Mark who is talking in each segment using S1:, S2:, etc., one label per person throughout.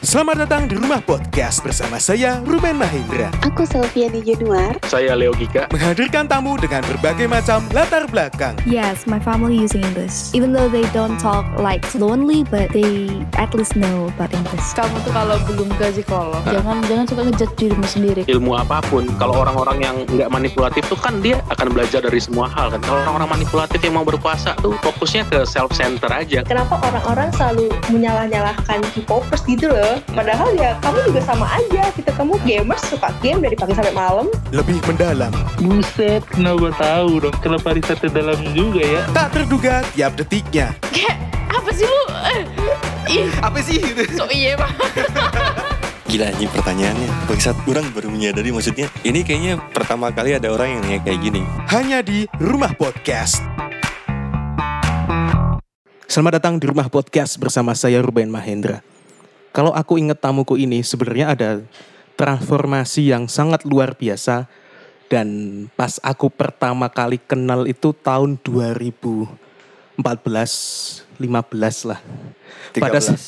S1: Selamat datang di Rumah Podcast bersama saya Ruben Mahendra
S2: Aku Selviani Januar.
S3: Saya Leo Gika.
S1: Menghadirkan tamu dengan berbagai macam latar belakang
S4: Yes, my family using English. Even though they don't talk like fluently, but they at least know about English.
S5: kamu tuh kalau belum ke psikolog ya. jangan jangan suka ngejat dirimu sendiri
S3: Ilmu apapun, kalau orang-orang yang nggak manipulatif tuh kan dia akan belajar dari semua hal kan. Kalau orang-orang manipulatif yang mau berkuasa tuh fokusnya ke self center aja.
S6: kenapa orang-orang selalu menyalah-nyalahkan K-popers gitu loh padahal ya kamu juga sama aja gitu kamu gamers suka game dari pagi sampai malam
S1: Lebih mendalam
S7: Buset, kenapa tahu dong? Kenapa risetnya dalam juga ya?
S1: Tak terduga tiap detiknya
S5: kayak apa sih lu Eh, ih
S8: apa sih gitu
S5: so iya pak
S9: Gila ini pertanyaannya. Bagi saat orang baru menyadari maksudnya ini kayaknya pertama kali ada orang yang nanya kayak gini.
S1: Hanya di Rumah Podcast Selamat datang di Rumah Podcast bersama saya Ruben Mahendra Kalau aku ingat tamuku ini sebenarnya ada transformasi yang sangat luar biasa dan pas aku pertama kali kenal itu tahun 2014 15 lah. Pada sa-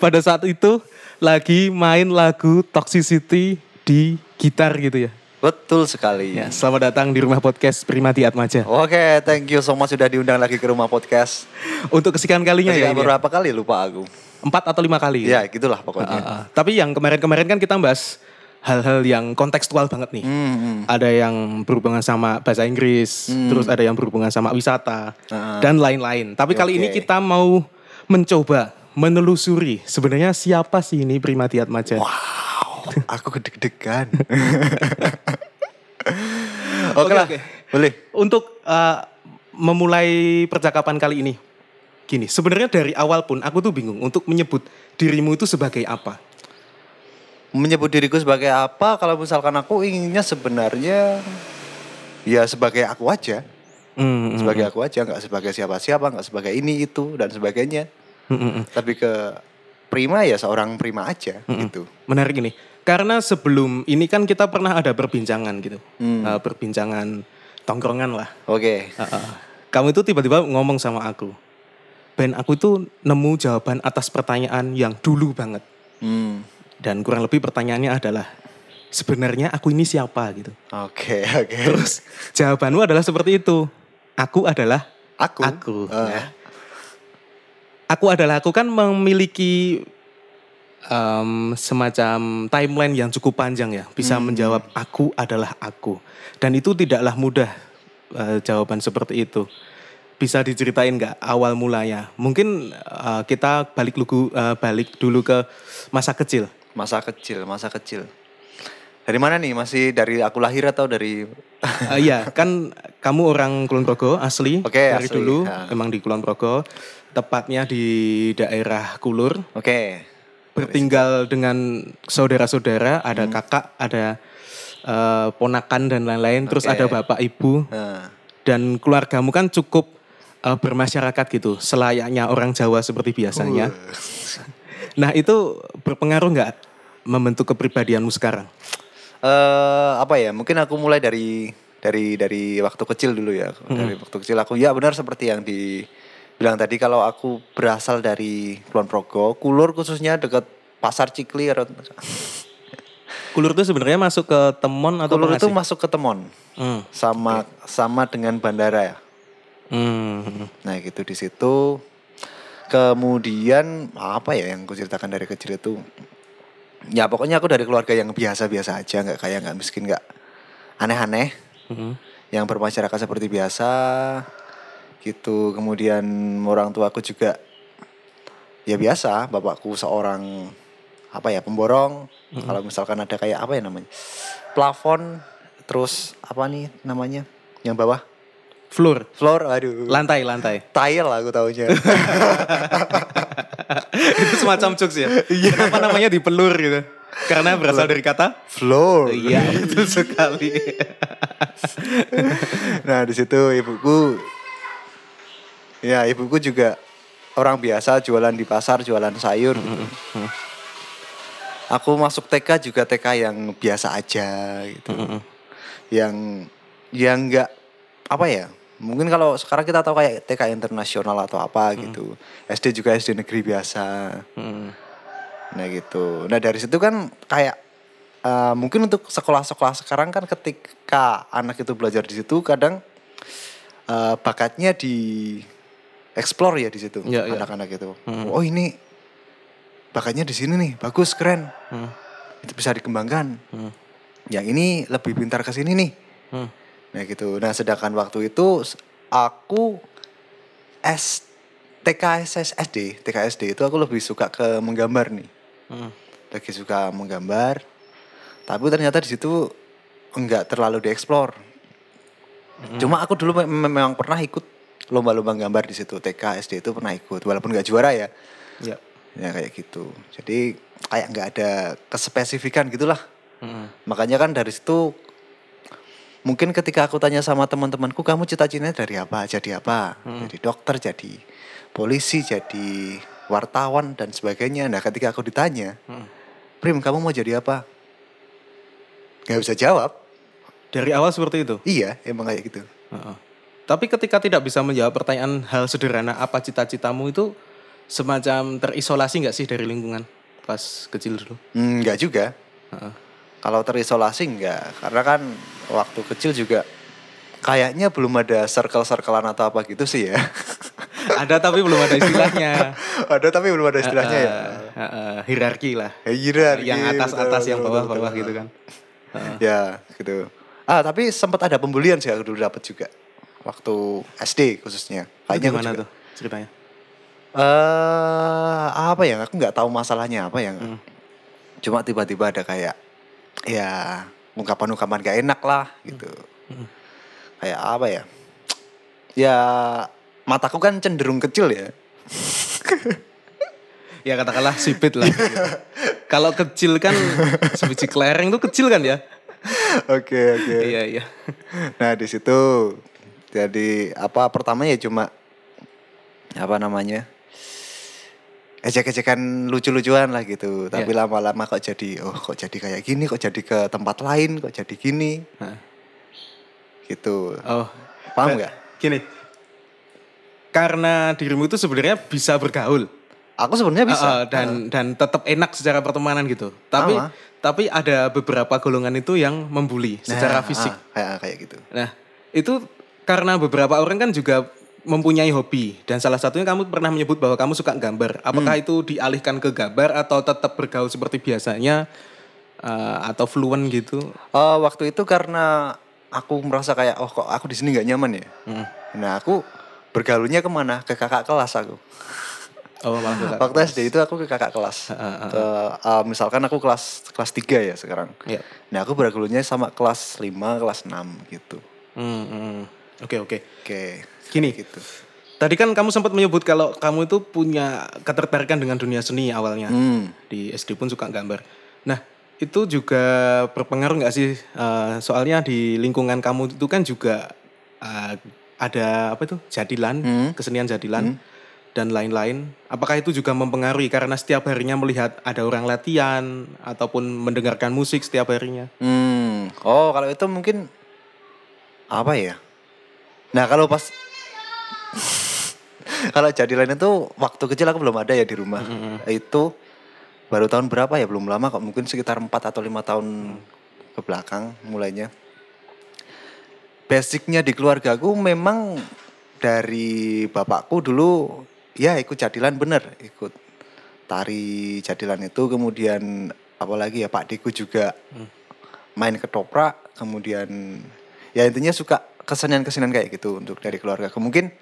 S8: 13.
S1: pada saat itu lagi main lagu Toxicity di gitar gitu ya.
S8: betul sekali
S1: Ya, selamat datang di rumah podcast Primati Atmaja.
S8: Oke, thank you so much sudah diundang lagi ke rumah podcast.
S1: Untuk kesekian kalinya
S8: Ketika
S1: ya, ini ya.
S8: berapa kali lupa aku?
S1: Empat atau lima kali.
S8: Ya, gitulah
S1: Ah, ah,
S8: pokoknya.
S1: ah. Tapi yang kemarin-kemarin kan kita bahas hal-hal yang kontekstual banget nih.
S8: Hmm, hmm.
S1: Ada yang berhubungan sama bahasa Inggris, terus ada yang berhubungan sama wisata
S8: Ah.
S1: dan lain-lain. Tapi kali ini
S8: Oke.
S1: kita mau mencoba menelusuri sebenarnya siapa sih ini Primati Atmaja.
S8: Aku deg-degan. Oke lah,
S1: oke.
S8: boleh.
S1: Untuk uh, memulai percakapan kali ini, gini, sebenarnya dari awal pun aku tuh bingung untuk menyebut dirimu itu sebagai apa.
S8: Menyebut diriku sebagai apa? Kalau misalkan aku inginnya sebenarnya ya sebagai aku aja,
S1: Mm-hmm.
S8: sebagai aku aja, nggak sebagai siapa-siapa, nggak sebagai ini itu dan sebagainya.
S1: Mm-mm.
S8: Tapi ke prima ya seorang prima aja gitu.
S1: Menarik ini, karena sebelum ini kan kita pernah ada perbincangan gitu,
S8: Hmm.
S1: Uh, perbincangan tongkrongan lah.
S8: Oke.
S1: Uh, uh. Kamu itu tiba-tiba ngomong sama aku, Ben aku tuh nemu jawaban atas pertanyaan yang dulu banget.
S8: Hmm.
S1: Dan kurang lebih pertanyaannya adalah, sebenarnya aku ini siapa gitu.
S8: Oke, oke.
S1: Terus jawabanmu adalah seperti itu. Aku adalah
S8: aku.
S1: aku.
S8: Eh.
S1: Nah, aku adalah aku kan memiliki em, semacam timeline yang cukup panjang ya. Bisa
S8: Hmm.
S1: menjawab aku adalah aku. Dan itu tidaklah mudah eh, jawaban seperti itu. Bisa diceritain nggak awal mulanya? Mungkin eh, kita balik lugu, eh, balik dulu ke masa kecil.
S8: Masa kecil, masa kecil. Dari mana nih? Masih dari aku lahir atau dari
S1: Eh, Iya, kan kamu orang Kulon Progo asli
S8: Oke,
S1: dari
S8: asli,
S1: dulu
S8: ya.
S1: emang di Kulon Progo, tepatnya di daerah Kulur.
S8: Oke.
S1: Bertinggal dengan saudara-saudara, ada kakak, ada eh, ponakan dan lain-lain, terus
S8: Oke.
S1: ada bapak ibu
S8: Nah,
S1: dan keluargamu kan cukup eh, bermasyarakat gitu, selayaknya orang Jawa seperti biasanya. Nah, itu berpengaruh nggak membentuk kepribadianmu sekarang?
S8: eh, apa ya? Mungkin aku mulai dari dari dari waktu kecil dulu ya. Dari waktu kecil aku ya benar seperti yang dibilang tadi kalau aku berasal dari Kulon Progo, Kulur khususnya dekat Pasar Cikli atau
S1: Kulur itu sebenarnya masuk ke Temon atau
S8: Kulur itu
S1: Pengasih?
S8: masuk ke Temon
S1: Hmm.
S8: sama sama dengan bandara ya.
S1: Hmm.
S8: Nah gitu di situ. Kemudian apa ya yang gue ceritakan dari kecil itu? Ya pokoknya aku dari keluarga yang biasa-biasa aja, nggak kaya, nggak miskin, nggak aneh-aneh,
S1: Mhm.
S8: yang bermasyarakat seperti biasa. Gitu. Kemudian orang tua aku juga ya biasa. Bapakku seorang apa ya pemborong. Kalau misalkan ada kayak apa ya namanya plafon, terus apa nih namanya yang bawah
S1: Floor,
S8: floor, aduh
S1: lantai, lantai.
S8: tile aku taunya.
S1: itu semacam jokes ya. Kenapa namanya dipelur gitu? Karena berasal dari kata
S8: Floor.
S1: Iya, betul sekali.
S8: Nah, di situ ibuku Ya, ibuku juga orang biasa jualan di pasar, jualan sayur. gitu. Aku masuk TK juga TK yang biasa aja gitu. Yang yang enggak apa ya? Mungkin kalau sekarang kita tahu kayak TK internasional atau apa gitu. SD juga SD negeri biasa. Nah gitu. Nah dari situ kan kayak eh, mungkin untuk sekolah-sekolah sekarang kan ketika anak itu belajar di situ kadang eh, bakatnya di explore ya di situ
S1: Iya, iya.
S8: anak-anak itu.
S1: Hmm.
S8: Oh ini bakatnya di sini nih, bagus keren.
S1: Hmm.
S8: Itu bisa dikembangkan.
S1: Hmm.
S8: Yang ini lebih pintar ke sini nih.
S1: Hmm.
S8: Nah gitu. Nah sedangkan waktu itu s- aku S TKSSD, TKSD itu aku lebih suka ke menggambar nih
S1: Hmm.
S8: lagi suka menggambar tapi ternyata di situ enggak terlalu dieksplor
S1: Hmm.
S8: cuma aku dulu me- me- memang pernah ikut lomba-lomba gambar di situ TK SD itu pernah ikut walaupun nggak juara ya
S1: Ya.
S8: ya kayak gitu jadi kayak nggak ada kespesifikan gitulah
S1: Hmm.
S8: makanya kan dari situ mungkin ketika aku tanya sama teman-temanku kamu cita-citanya dari apa jadi apa
S1: Hmm.
S8: jadi dokter jadi polisi jadi wartawan dan sebagainya nah ketika aku ditanya
S1: Hmm.
S8: Prim kamu mau jadi apa nggak bisa jawab
S1: Dari awal seperti itu.
S8: iya emang kayak gitu
S1: Heeh. Tapi ketika tidak bisa menjawab pertanyaan hal sederhana apa cita-citamu itu semacam terisolasi nggak sih dari lingkungan pas kecil dulu?
S8: Hmm, nggak juga
S1: Heeh.
S8: kalau terisolasi nggak karena kan waktu kecil juga kayaknya belum ada circle-circlean atau apa gitu sih ya
S1: ada tapi belum ada istilahnya.
S8: ada tapi belum ada istilahnya ya
S1: Heeh, heeh, hierarki lah.
S8: Hierarki,
S1: yang atas atas,
S8: betul,
S1: yang
S8: betul,
S1: bawah
S8: betul,
S1: bawah
S8: betul.
S1: gitu kan.
S8: ya gitu ah tapi sempat ada pembulian sih aku dulu dapat juga waktu SD khususnya
S1: Itu
S8: kayaknya aku
S1: gimana
S8: juga.
S1: tuh ceritanya?
S8: eh apa ya aku nggak tahu masalahnya apa ya
S1: Hmm.
S8: cuma tiba-tiba ada kayak ya ungkapan-ungkapan gak enak lah gitu
S1: Hmm.
S8: kayak apa ya ya mataku kan cenderung kecil ya
S1: Ya katakanlah sipit lah. gitu. Kalau kecil kan sebiji kelereng tuh kecil kan ya?
S8: oke oke
S1: Iya iya.
S8: Nah di situ jadi apa pertama ya cuma apa namanya ejek-ejekan lucu-lucuan lah gitu. Tapi
S1: Iya.
S8: lama-lama kok jadi oh kok jadi kayak gini, kok jadi ke tempat lain, kok jadi gini
S1: Hah.
S8: gitu.
S1: Oh
S8: Paham nggak?
S1: gini. Karena dirimu itu sebenarnya bisa bergaul.
S8: Aku sebenarnya bisa. Ah. Nah,
S1: Heeh, eh, dan dan tetap enak secara pertemanan gitu. Tapi
S8: Sama.
S1: tapi ada beberapa golongan itu yang membuli
S8: Nah,
S1: secara
S8: ah,
S1: fisik.
S8: kayak kayak gitu.
S1: Nah, itu karena beberapa orang kan juga mempunyai hobi dan salah satunya kamu pernah menyebut bahwa kamu suka gambar. Apakah
S8: Hmm.
S1: itu dialihkan ke gambar atau tetap bergaul seperti biasanya eh, atau fluent gitu?
S8: Eh, waktu itu karena aku merasa kayak oh kok aku di sini nggak nyaman ya.
S1: Hmm.
S8: Nah aku bergaulnya kemana? Ke kakak kelas aku.
S1: Oh, malah suka.
S8: Waktu SD itu aku ke kakak kelas. Ke, eh, misalkan aku kelas kelas 3 ya sekarang.
S1: Iya.
S8: Nah, aku bergaulnya sama kelas 5, kelas 6 gitu.
S1: Hmm, hmm. Oke, oke.
S8: Oke.
S1: Gini.
S8: gitu.
S1: Tadi kan kamu sempat menyebut kalau kamu itu punya ketertarikan dengan dunia seni awalnya.
S8: Hmm.
S1: Di SD pun suka gambar. Nah, itu juga berpengaruh nggak sih? Eh, soalnya di lingkungan kamu itu kan juga eh, ada apa itu jadilan,
S8: Hmm.
S1: kesenian jadilan dan lain-lain. Apakah itu juga mempengaruhi karena setiap harinya melihat ada orang latihan ataupun mendengarkan musik setiap harinya?
S8: Hmm. Oh, kalau itu mungkin apa ya? Nah, kalau pas kalau jadi lain itu waktu kecil aku belum ada ya di rumah. Itu baru tahun berapa ya? Belum lama kok, mungkin sekitar 4 atau lima tahun ke belakang mulainya. Basicnya di keluarga aku memang dari bapakku dulu ya ikut jadilan bener, ikut tari jadilan itu kemudian apalagi ya Pak Deku juga main ketoprak kemudian ya intinya suka kesenian-kesenian kayak gitu untuk dari keluarga mungkin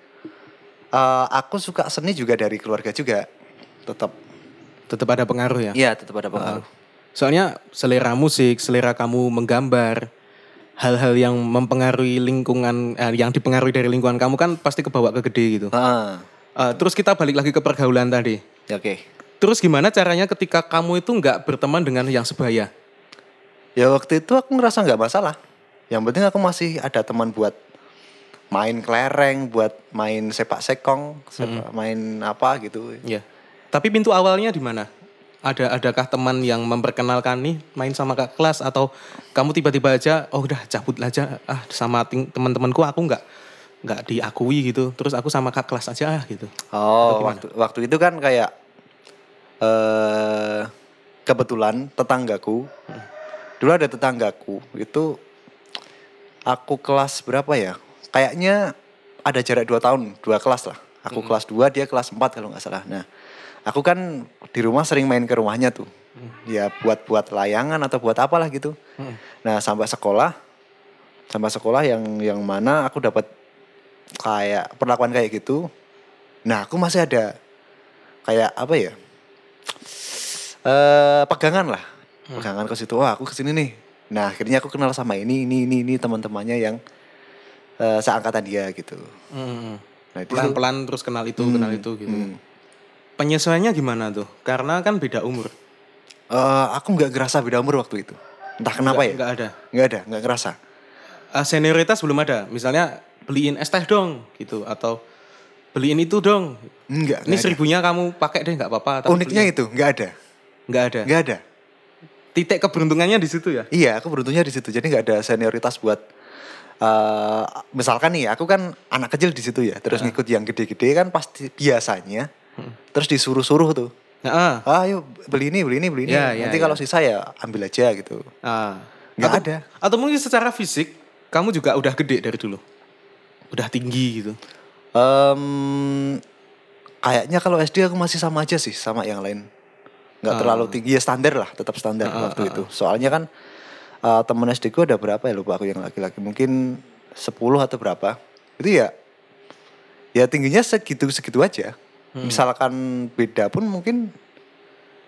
S8: eh, aku suka seni juga dari keluarga juga tetap
S1: Tetap ada pengaruh ya?
S8: iya tetap ada pengaruh
S1: Soalnya selera musik, selera kamu menggambar, hal-hal yang mempengaruhi lingkungan, eh, yang dipengaruhi dari lingkungan kamu kan pasti kebawa ke gede gitu.
S8: Ah,
S1: Eh, terus kita balik lagi ke pergaulan tadi.
S8: ya oke
S1: Terus gimana caranya ketika kamu itu nggak berteman dengan yang sebaya?
S8: ya waktu itu aku ngerasa nggak masalah yang penting aku masih ada teman buat main kelereng buat main sepak sekong sepak- main apa gitu
S1: Ya. Tapi pintu awalnya di mana? Ada adakah teman yang memperkenalkan nih main sama kak kelas atau kamu tiba-tiba aja oh udah cabut aja ah sama ting- teman-temanku aku nggak nggak diakui gitu terus aku sama kak kelas aja ah gitu
S8: Oh,
S1: gimana?
S8: waktu, waktu itu kan kayak eh kebetulan tetanggaku dulu ada tetanggaku itu aku kelas berapa ya kayaknya ada jarak dua tahun dua kelas lah aku kelas dua dia kelas empat kalau nggak salah nah aku kan di rumah sering main ke rumahnya tuh ya buat buat layangan atau buat apalah gitu
S1: Hmm.
S8: nah sampai sekolah sampai sekolah yang yang mana aku dapat kayak perlakuan kayak gitu nah aku masih ada kayak apa ya eh pegangan lah
S1: Hmm.
S8: pegangan ke situ wah aku kesini nih nah akhirnya aku kenal sama ini ini ini ini teman-temannya yang eh, seangkatan dia gitu
S1: Hmm.
S8: nah itu
S1: Pelan-pelan terus kenal itu,
S8: Hmm,
S1: kenal itu gitu.
S8: hmm.
S1: Penyesuaiannya gimana tuh? Karena kan beda umur.
S8: Eh, aku nggak ngerasa beda umur waktu itu entah kenapa ya
S1: Enggak ada.
S8: nggak ada nggak ngerasa
S1: Eh, senioritas belum ada. Misalnya beliin es teh dong gitu atau beliin itu dong.
S8: nggak
S1: Ini
S8: nggak ada.
S1: seribunya kamu pakai deh nggak apa-apa. tapi
S8: uniknya
S1: beliin.
S8: itu nggak ada
S1: nggak ada.
S8: nggak ada
S1: Titik keberuntungannya di situ ya.
S8: Iya, aku beruntungnya di situ. Jadi nggak ada senioritas buat eh, misalkan nih, aku kan anak kecil di situ ya. Terus ngikut yang gede-gede kan pasti biasanya. Terus disuruh-suruh tuh,
S1: Nah, ah,
S8: ah, ayo beli ini, beli ini, beli ini.
S1: Ya, ya,
S8: Nanti
S1: ya.
S8: kalau sisa ya ambil aja gitu.
S1: ah.
S8: Nggak
S1: Atau-
S8: ada.
S1: Atau mungkin secara fisik kamu juga udah gede dari dulu. Udah tinggi gitu.
S8: Em, kayaknya kalau SD aku masih sama aja sih sama yang lain. Nggak terlalu tinggi ya standar lah, tetap
S1: Ah,
S8: standar
S1: ah,
S8: waktu
S1: ah,
S8: itu. Soalnya kan eh, temen SD ku ada berapa ya lupa aku yang laki-laki mungkin 10 atau berapa. Itu ya ya tingginya segitu segitu aja.
S1: Hmm.
S8: Misalkan beda pun mungkin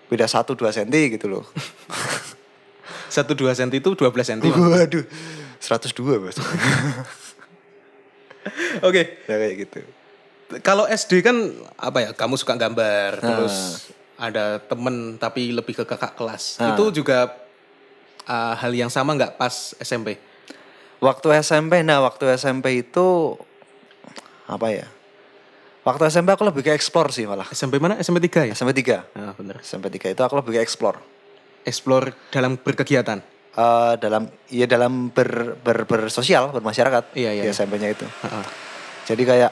S8: beda 1 2 cm gitu loh.
S1: 1 2 cm itu 12 cm. Mas.
S8: Waduh. 102 Mas.
S1: Oke.
S8: ya kayak gitu.
S1: Kalau SD kan apa ya? Kamu suka gambar, terus ada temen tapi lebih ke kakak kelas.
S8: Ah.
S1: Itu juga ah, hal yang sama nggak pas SMP?
S8: Waktu SMP, nah waktu SMP itu apa ya? Waktu SMP aku lebih ke explore sih malah.
S1: SMP mana? SMP 3 ya?
S8: SMP 3.
S1: Nah, bener.
S8: SMP 3 itu aku lebih ke explore.
S1: Explore dalam berkegiatan.
S8: Eh, dalam ya dalam ber, ber, bersosial, bermasyarakat
S1: Iya, iya.
S8: di SMP-nya itu.
S1: Heeh.
S8: Jadi kayak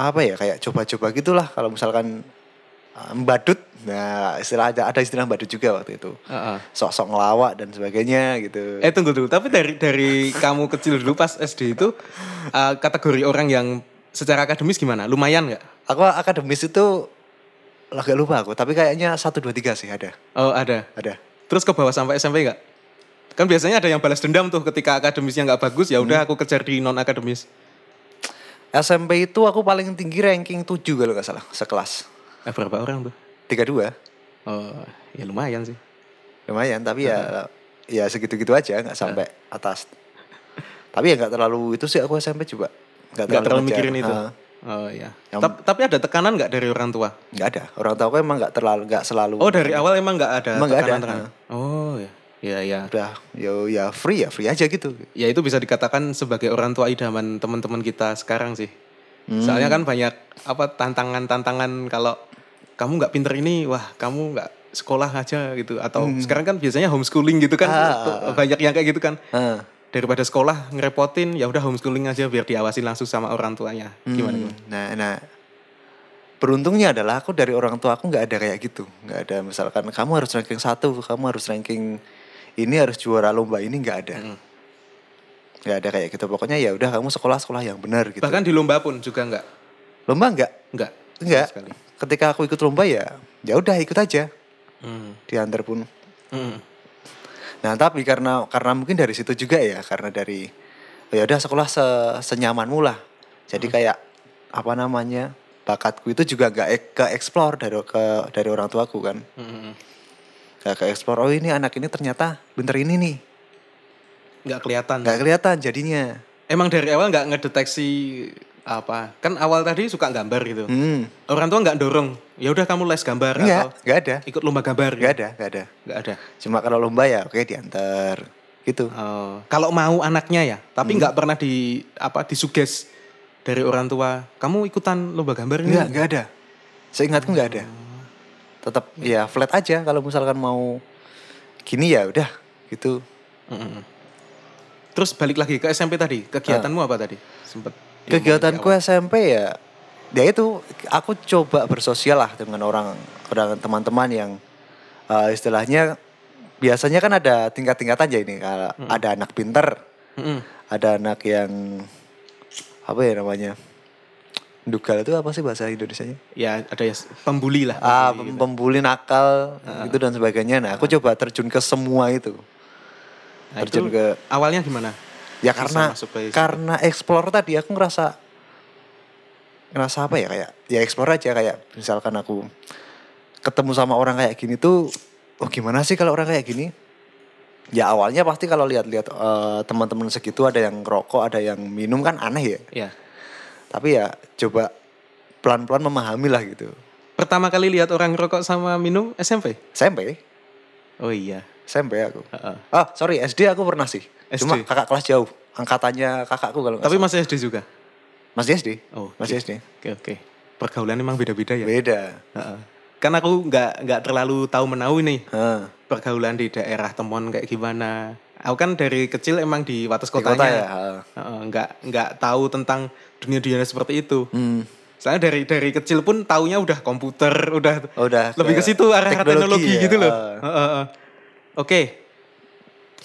S8: apa ya? Kayak coba-coba gitulah kalau misalkan eh, mbadut. Nah, istilah ada, ada istilah mbadut juga waktu itu.
S1: Heeh.
S8: Sok-sok ngelawak dan sebagainya gitu.
S1: Eh tunggu dulu, tapi dari dari kamu kecil dulu pas SD itu ah, kategori orang yang secara akademis gimana? Lumayan nggak?
S8: Aku akademis itu agak lupa aku, tapi kayaknya 1 2 3 sih ada.
S1: Oh ada.
S8: Ada.
S1: Terus ke bawah sampai SMP nggak? Kan biasanya ada yang balas dendam tuh ketika akademisnya nggak bagus ya udah aku kejar di non akademis.
S8: SMP itu aku paling tinggi ranking 7 kalau nggak salah, sekelas.
S1: Eh, berapa orang tuh?
S8: 32.
S1: Oh, ya lumayan sih.
S8: Lumayan, tapi
S1: Hmm.
S8: ya ya segitu-gitu aja, nggak sampai atas. Tapi ya nggak terlalu itu sih aku SMP juga.
S1: Gak terlalu
S8: ngejar.
S1: mikirin itu.
S8: Ha,
S1: Oh iya.
S8: Yang-
S1: Tap- tapi ada tekanan nggak dari orang tua?
S8: Nggak ada. Orang tua aku emang nggak terlalu nggak selalu.
S1: Oh dari awal emang nggak ada
S8: Emang nggak ada,
S1: tekanan-tekanan? Oh ya. Ya ya.
S8: udah ya ya free ya free aja gitu.
S1: Ya itu bisa dikatakan sebagai orang tua idaman teman-teman kita sekarang sih. Soalnya kan banyak apa tantangan-tantangan kalau kamu nggak pinter ini, wah kamu nggak sekolah aja gitu atau sekarang kan biasanya homeschooling gitu kan
S8: Hmm. Ah,
S1: tuh, banyak yang kayak gitu kan
S8: Ha.
S1: daripada sekolah ngerepotin ya udah homeschooling aja biar diawasi langsung sama orang tuanya gimana
S8: Hmm,
S1: gimana
S8: Nah, nah beruntungnya adalah aku dari orang tua aku nggak ada kayak gitu, nggak ada misalkan kamu harus ranking satu, kamu harus ranking ini harus juara lomba ini nggak ada,
S1: Hmm.
S8: nggak ada kayak gitu. Pokoknya ya udah kamu sekolah sekolah yang benar gitu.
S1: bahkan di lomba pun juga nggak
S8: lomba nggak,
S1: Enggak.
S8: nggak.
S1: Sama sekali.
S8: Ketika aku ikut lomba ya, ya udah ikut aja,
S1: Hmm.
S8: diantar pun.
S1: Hmm.
S8: Nah tapi karena karena mungkin dari situ juga ya karena dari ya udah sekolah se senyamanmu lah. Jadi kayak apa namanya bakatku itu juga gak ek- ke explore dari ke dari orang tuaku kan.
S1: Hmm.
S8: Gak ke explore oh ini anak ini ternyata bentar ini nih.
S1: Nggak kelihatan.
S8: Gak kelihatan jadinya.
S1: Emang dari awal nggak ngedeteksi apa? Kan awal tadi suka gambar gitu.
S8: Hmm.
S1: Orang tua nggak dorong. Ya udah kamu les gambar atau
S8: Enggak, gak ada.
S1: ikut lomba gambar. gitu.
S8: Gak ada, gak ada.
S1: Nggak ada.
S8: Cuma kalau lomba ya oke diantar gitu.
S1: Oh, kalau mau anaknya ya,
S8: Hmm.
S1: tapi nggak pernah di apa disuges dari orang tua. Kamu ikutan lomba gambar ini.
S8: Enggak, enggak ada. Seingatku enggak ada. Tetap ya flat aja kalau misalkan mau gini ya udah gitu.
S1: Mm-mm. Terus balik lagi ke SMP tadi. Kegiatanmu apa tadi? Sempet. diomongin di
S8: Ah. Kegiatanku
S1: awal.
S8: SMP ya ya itu aku coba bersosial lah dengan orang orang teman-teman yang eh, istilahnya biasanya kan ada tingkat-tingkatan ya ini. Kalau
S1: Hmm.
S8: Ada anak pinter,
S1: Mm-mm.
S8: ada anak yang apa ya namanya? Dugal itu apa sih bahasa Indonesianya?
S1: Ya ada ya pembuli lah. pembuli
S8: Ah, pem-
S1: gitu. Ah.
S8: pembuli nakal gitu dan sebagainya. Nah, aku coba terjun ke semua itu.
S1: Nah, itu
S8: terjun ke-
S1: awalnya gimana?
S8: Ya
S1: Bisa
S8: karena
S1: masuk ke-
S8: karena explore tadi aku ngerasa ngerasa apa ya kayak ya explore aja kayak misalkan aku ketemu sama orang kayak gini tuh oh gimana sih kalau orang kayak gini? Ya awalnya pasti kalau lihat-lihat eh, teman-teman segitu ada yang ngerokok, ada yang minum kan aneh ya.
S1: ya.
S8: Tapi ya coba pelan-pelan memahami lah gitu.
S1: Pertama kali lihat orang rokok sama minum SMP.
S8: SMP,
S1: Oh iya.
S8: SMP aku.
S1: Heeh.
S8: Ah, sorry, SD aku pernah sih.
S1: SD.
S8: Cuma kakak kelas jauh. Angkatannya kakakku kalau nggak
S1: Tapi
S8: salah.
S1: masih SD juga.
S8: masih SD.
S1: Oh, oke.
S8: ya. Masih SD.
S1: Oke oke. Pergaulan emang beda-beda ya.
S8: Beda.
S1: Heeh. Karena aku nggak nggak terlalu tahu menau nih
S8: Heeh.
S1: pergaulan di daerah Temon kayak gimana. Aku kan dari kecil emang di wates
S8: Di kota ya.
S1: kotanya.
S8: heeh.
S1: Heeh, nggak nggak tahu tentang dunia-dunia seperti itu.
S8: Hmm.
S1: Saya dari dari kecil pun taunya udah komputer, udah
S8: Oh, Udah.
S1: lebih ke situ arah teknologi, teknologi
S8: ya,
S1: gitu loh.
S8: heeh.
S1: Heeh, heeh. Oke.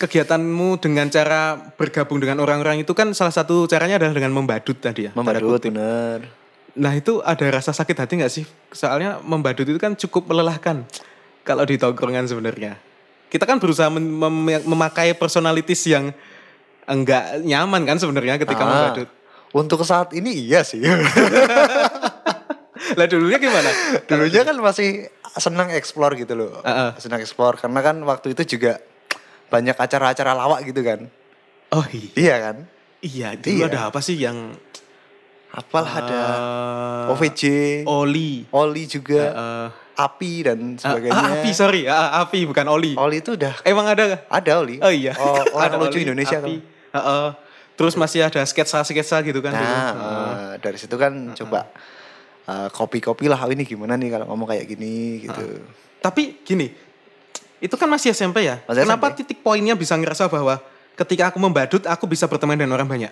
S1: Kegiatanmu dengan cara bergabung dengan orang-orang itu kan salah satu caranya adalah dengan membadut tadi ya. tanda
S8: Membadut
S1: kutip.
S8: bener.
S1: Nah itu ada rasa sakit hati nggak sih? Soalnya membadut itu kan cukup melelahkan kalau di tongkrongan sebenarnya. Kita kan berusaha mem- mem- memakai personalities yang enggak nyaman kan sebenarnya ketika
S8: Ah.
S1: membadut.
S8: Untuk saat ini iya sih.
S1: Lah dulunya gimana?
S8: Dulunya kan masih senang explore gitu loh.
S1: Heeh.
S8: Senang explore karena kan waktu itu juga banyak acara-acara lawak gitu kan.
S1: Oh iya,
S8: Iya kan?
S1: iya dulu
S8: Iya.
S1: ada apa sih yang Ah.
S8: Apalah ada
S1: eh,
S8: OVJ,
S1: Oli. Eh,
S8: Oli juga,
S1: eh,
S8: Api dan Iya. sebagainya.
S1: ah, api sorry, ah, ah, api bukan Oli.
S8: Oli itu udah
S1: Emang ada? nggak?
S8: Ada Oli.
S1: Oh iya.
S8: Oh,
S1: Ada
S8: orang lucu
S1: Oli,
S8: Indonesia
S1: api.
S8: kan.
S1: Eh, eh. Terus masih ada sketsa-sketsa gitu kan
S8: Nah,
S1: dulu. Eh.
S8: eh, dari situ kan coba eh, kopi-kopi lah oh, ini gimana nih kalau ngomong kayak gini gitu.
S1: Tapi gini, itu kan masih SMP ya.
S8: Masih
S1: Kenapa
S8: SMP.
S1: titik poinnya bisa ngerasa bahwa ketika aku membadut, aku bisa berteman dengan orang banyak.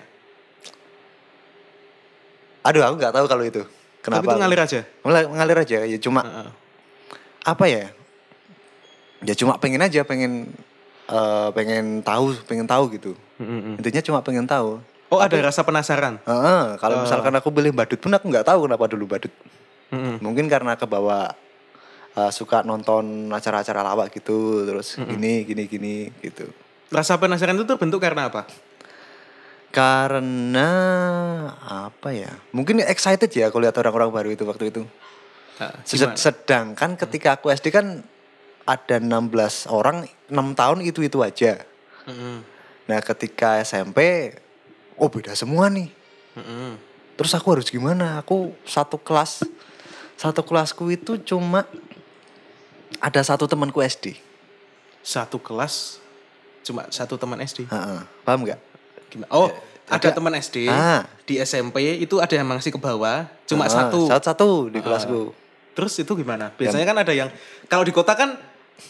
S8: Aduh, aku nggak tahu kalau itu. Kenapa?
S1: Tapi itu
S8: aku-
S1: ngalir aja.
S8: Ngalir, ngalir aja. Ya cuma
S1: Heeh.
S8: apa ya? Ya cuma pengen aja, pengen eh, pengen tahu, pengen tahu gitu.
S1: Mm-mm.
S8: Intinya cuma pengen tahu.
S1: Oh ada rasa penasaran.
S8: Heeh, kalau
S1: Eh.
S8: misalkan aku beli badut pun aku nggak tahu kenapa dulu badut.
S1: Mm-mm.
S8: Mungkin karena kebawa eh, suka nonton acara-acara lawak gitu, terus
S1: Hmm.
S8: gini gini gini gitu.
S1: Rasa penasaran itu terbentuk karena apa?
S8: Karena apa ya? Mungkin excited ya aku lihat orang-orang baru itu waktu itu.
S1: Eh,
S8: Sed-
S1: gimana?
S8: Sedangkan ketika aku SD kan ada 16 orang, 6 tahun itu-itu aja.
S1: Mm-mm.
S8: Nah, ketika SMP oh beda semua nih.
S1: Mm-mm.
S8: Terus aku harus gimana? Aku satu kelas satu kelasku itu cuma ada satu temanku SD.
S1: Satu kelas cuma satu teman SD.
S8: Heeh. Paham nggak?
S1: Gimana? Oh ada
S8: ada-
S1: teman SD
S8: Ah.
S1: di SMP itu ada yang masih ke bawah Iya. cuma
S8: Heeh,
S1: satu.
S8: Satu-satu di
S1: Ah.
S8: kelasku.
S1: Terus itu gimana? Biasanya kan ada yang kalau di kota kan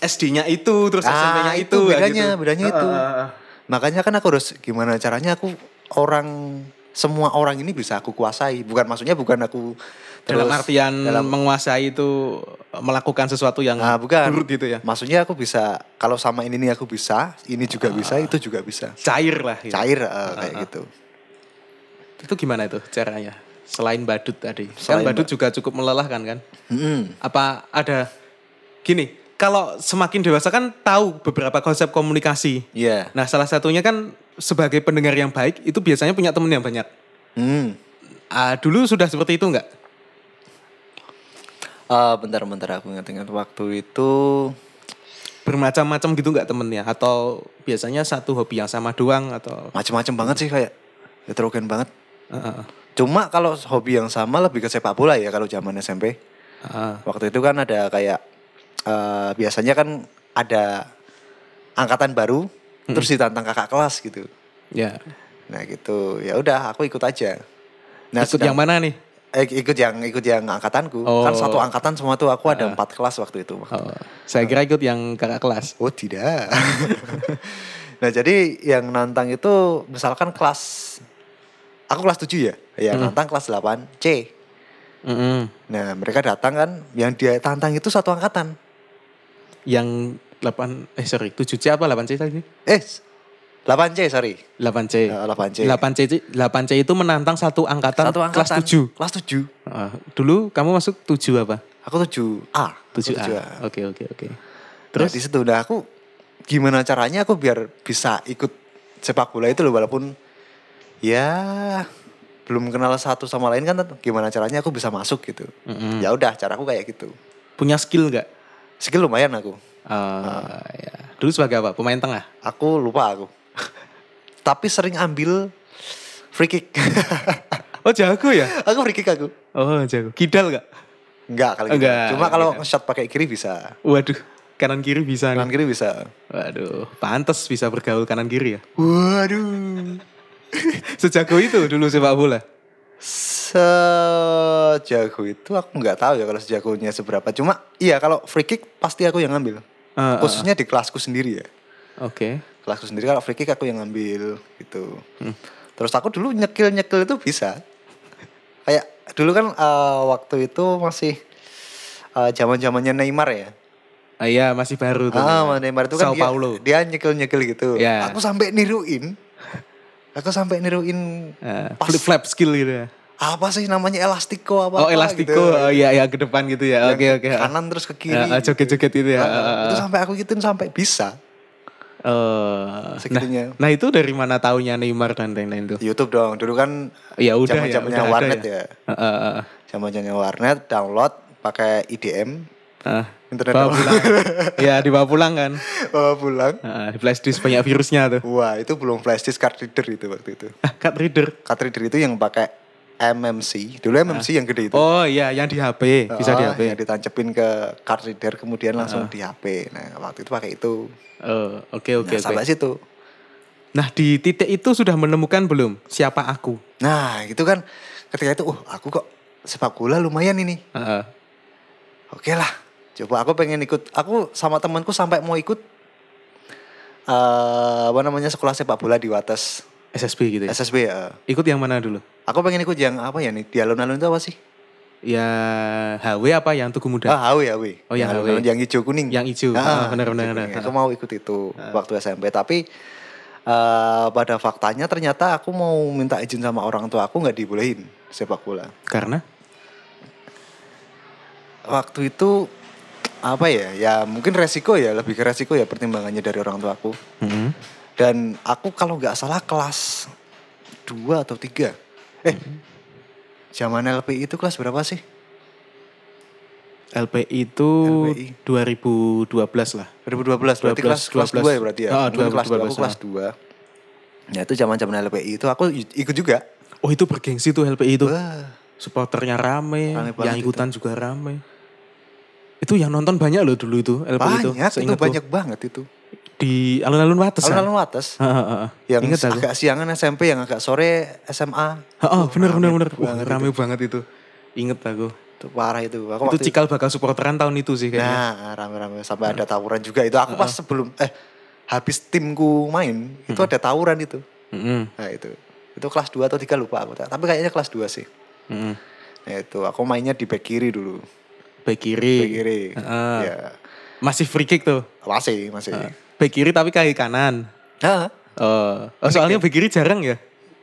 S1: SD-nya itu terus
S8: Ah,
S1: SMP-nya itu,
S8: itu
S1: ya
S8: bedanya,
S1: gitu.
S8: bedanya itu.
S1: Ah, ah, ah.
S8: Makanya kan aku harus gimana caranya aku orang semua orang ini bisa aku kuasai. Bukan maksudnya bukan aku
S1: dalam
S8: terus
S1: artian
S8: dalam-
S1: menguasai itu melakukan sesuatu yang
S8: Ah, bukan.
S1: buruk gitu ya.
S8: Maksudnya aku bisa kalau sama ini nih aku bisa, ini juga bisa, itu juga bisa.
S1: Cair lah gitu.
S8: Cair eh, kayak
S1: ah.
S8: gitu.
S1: Itu gimana itu caranya? Selain badut tadi.
S8: Selain
S1: kan badut
S8: ba-
S1: juga cukup melelahkan kan?
S8: Mm-mm.
S1: Apa ada gini, kalau semakin dewasa kan tahu beberapa konsep komunikasi.
S8: Iya.
S1: Nah, salah satunya kan sebagai pendengar yang baik itu biasanya punya temen yang banyak.
S8: Hmm.
S1: Ah, dulu sudah seperti itu enggak?
S8: Eh, bentar bentar aku ingat-ingat waktu itu
S1: bermacam-macam gitu nggak temennya atau biasanya satu hobi yang sama doang atau
S8: macem-macem banget sih kayak heterogen banget.
S1: Heeh.
S8: Cuma kalau hobi yang sama lebih ke sepak bola ya kalau zaman SMP.
S1: Heeh.
S8: Waktu itu kan ada kayak eh, biasanya kan ada angkatan baru terus ditantang kakak kelas gitu.
S1: Hmm. ya
S8: Nah gitu ya udah aku ikut aja. Nah
S1: ikut yang mana nih
S8: Eh, ikut yang ikut yang angkatanku
S1: Oh.
S8: kan satu angkatan semua tuh aku ada empat kelas waktu itu
S1: oh, saya kira ikut yang kakak kelas
S8: oh tidak nah jadi yang nantang itu misalkan kelas aku kelas 7 ya ya nantang kelas 8 C nah mereka datang kan yang dia tantang itu satu angkatan
S1: yang 8 eh sorry 7C apa 8C tadi?
S8: Eh, 8C sorry.
S1: 8C.
S8: Eh, 8C.
S1: 8C itu- 8C itu menantang satu angkatan,
S8: Satu angkatan.
S1: kelas 7.
S8: Kelas 7.
S1: Heeh. Ah, dulu kamu masuk ah. 7 apa?
S8: Aku 7A.
S1: 7A.
S8: Aku
S1: Oke oke oke.
S8: Terus
S1: Terus?
S8: di situ udah aku gimana caranya aku biar bisa ikut sepak bola itu loh walaupun ya belum kenal satu sama lain kan tetap gimana caranya aku bisa masuk gitu.
S1: Mm-mm.
S8: Ya udah caraku kayak gitu.
S1: Punya skill nggak?
S8: Skill lumayan aku.
S1: Eh, ya. Dulu sebagai apa? Pemain tengah.
S8: Aku lupa aku. Tapi sering ambil free kick.
S1: Oh jago ya?
S8: aku free kick aku.
S1: Oh jago. Kidal nggak?
S8: Enggak kalau gitu.
S1: Enggak,
S8: Cuma
S1: enggak.
S8: kalau shot pakai kiri bisa.
S1: Waduh, kanan kiri bisa
S8: Kanan
S1: nih.
S8: kiri bisa.
S1: Waduh, pantes bisa bergaul kanan kiri ya.
S8: Waduh.
S1: Sejago itu dulu sepak bola.
S8: Sejago itu aku nggak tahu ya kalau sejagonya seberapa. Cuma iya kalau free kick pasti aku yang ngambil.
S1: Ah, ah,
S8: Khususnya di kelasku sendiri ya.
S1: Oke.
S8: Kelasku sendiri kalau free kick aku yang ngambil gitu.
S1: Hmm.
S8: Terus aku dulu nyekil-nyekil itu bisa. Kayak dulu kan eh, waktu itu masih eh, zaman-zamannya Neymar ya.
S1: Ah, Iya, masih baru tuh.
S8: Ah, Neymar itu
S1: Sao
S8: kan dia,
S1: Paulo.
S8: dia nyekil-nyekil gitu.
S1: Ya.
S8: Aku sampai niruin. Aku sampai niruin
S1: Ah,
S8: pas-
S1: flip flap skill gitu ya.
S8: apa sih namanya elastiko apa
S1: Oh, elastiko. Oh iya, ya ke depan gitu ya. Oke, oke.
S8: gitu. kanan terus ke kiri
S1: Ah, ah, joget-joget itu ya.
S8: Ah,
S1: Ah, ah,
S8: itu
S1: ah.
S8: sampai aku gituin sampai bisa
S1: Eh, nah,
S8: segitunya
S1: nah itu dari mana taunya Neymar dan lain-lain tuh?
S8: YouTube dong dulu kan
S1: Ya udah ya,
S8: zaman-zamannya
S1: udah ada
S8: warnet
S1: ya.
S8: ya
S1: Ah, ah, ah.
S8: zaman-zamannya warnet download pakai IDM
S1: Ah,
S8: internet
S1: bawa
S8: download,
S1: pulang. ya dibawa pulang kan.
S8: bawa pulang
S1: Ah, ah, di flash disk banyak virusnya tuh.
S8: wah itu belum flash disk card reader itu waktu itu
S1: Ah, card reader.
S8: card reader itu yang pakai MMC dulu MMC yang gede itu
S1: Oh iya, yang di HP, bisa di
S8: Gitu. Ah,
S1: HP.
S8: yang ditancepin ke card reader kemudian langsung di HP nah waktu itu pakai itu
S1: Oh, oke oke
S8: Nah,
S1: oke.
S8: sampai situ
S1: Nah, di titik itu sudah menemukan belum siapa aku?
S8: Nah gitu kan ketika itu, oh aku kok sepak bola lumayan ini.
S1: Heeh.
S8: Oke lah, coba aku pengen ikut. Aku sama temanku sampai mau ikut eh apa namanya sekolah sepak bola di Wates
S1: SSB gitu ya.
S8: SSB ya.
S1: Ikut yang mana dulu?
S8: Aku pengen ikut yang apa ya nih di alun-alun itu apa sih?
S1: Ya HW apa yang Tugu Muda?
S8: Ah HW HW.
S1: Oh, yang HW.
S8: alun-alun, yang hijau kuning.
S1: Yang hijau. Ah, benar, benar,
S8: hijau kuning.
S1: benar. Ah.
S8: Aku mau ikut itu waktu SMP tapi eh pada faktanya ternyata aku mau minta izin sama orang tua aku nggak dibolehin sepak bola.
S1: Karena
S8: waktu itu apa ya ya mungkin resiko ya lebih ke resiko ya pertimbangannya dari orang tua aku
S1: Mm-mm.
S8: dan aku kalau nggak salah kelas 2 atau 3 eh
S1: Mm-hmm.
S8: zaman LPI itu kelas berapa sih
S1: LPI itu
S8: LPI.
S1: 2012 lah.
S8: 2012
S1: 12,
S8: berarti kelas kelas 2 ya berarti ya
S1: Ah,
S8: Mungkin kelas 2 aku
S1: 2012,
S8: kelas 2 ya itu zaman zaman LPI itu aku i- ikut juga
S1: Oh itu bergengsi tuh LPI itu.
S8: Wah,
S1: Supporternya rame,
S8: Rame
S1: yang
S8: banget
S1: ikutan juga rame. Itu yang nonton banyak loh dulu itu LPI itu.
S8: banyak itu,
S1: Seingatku.
S8: banyak banget itu
S1: Di alun-alun Wates kan?
S8: alun-alun atas
S1: Heeh, heeh, heeh.
S8: yang
S1: Ingat aku.
S8: agak siangan SMP yang agak sore SMA
S1: Heeh,
S8: Wah,
S1: bener bener
S8: rame
S1: bener. Wah,
S8: banget
S1: rame banget itu. Ingat aku.
S8: itu parah itu aku
S1: itu
S8: waktu
S1: cikal bakal supporteran tahun itu sih kayaknya.
S8: Nah, rame-rame sampai ada tawuran juga itu. Aku pas sebelum eh habis timku main, itu ada tawuran itu.
S1: Mm-mm,
S8: Nah, itu. Itu kelas 2 atau 3 lupa aku. Tapi kayaknya kelas 2 sih.
S1: mm-mm.
S8: Nah, itu aku mainnya di back kiri dulu.
S1: Back kiri.
S8: Back kiri.
S1: Heeh.
S8: Ya,
S1: Masih free kick tuh.
S8: masih, masih.
S1: Back kiri tapi kaki kanan.
S8: Nah,
S1: Oh, oh, soalnya back kiri jarang ya?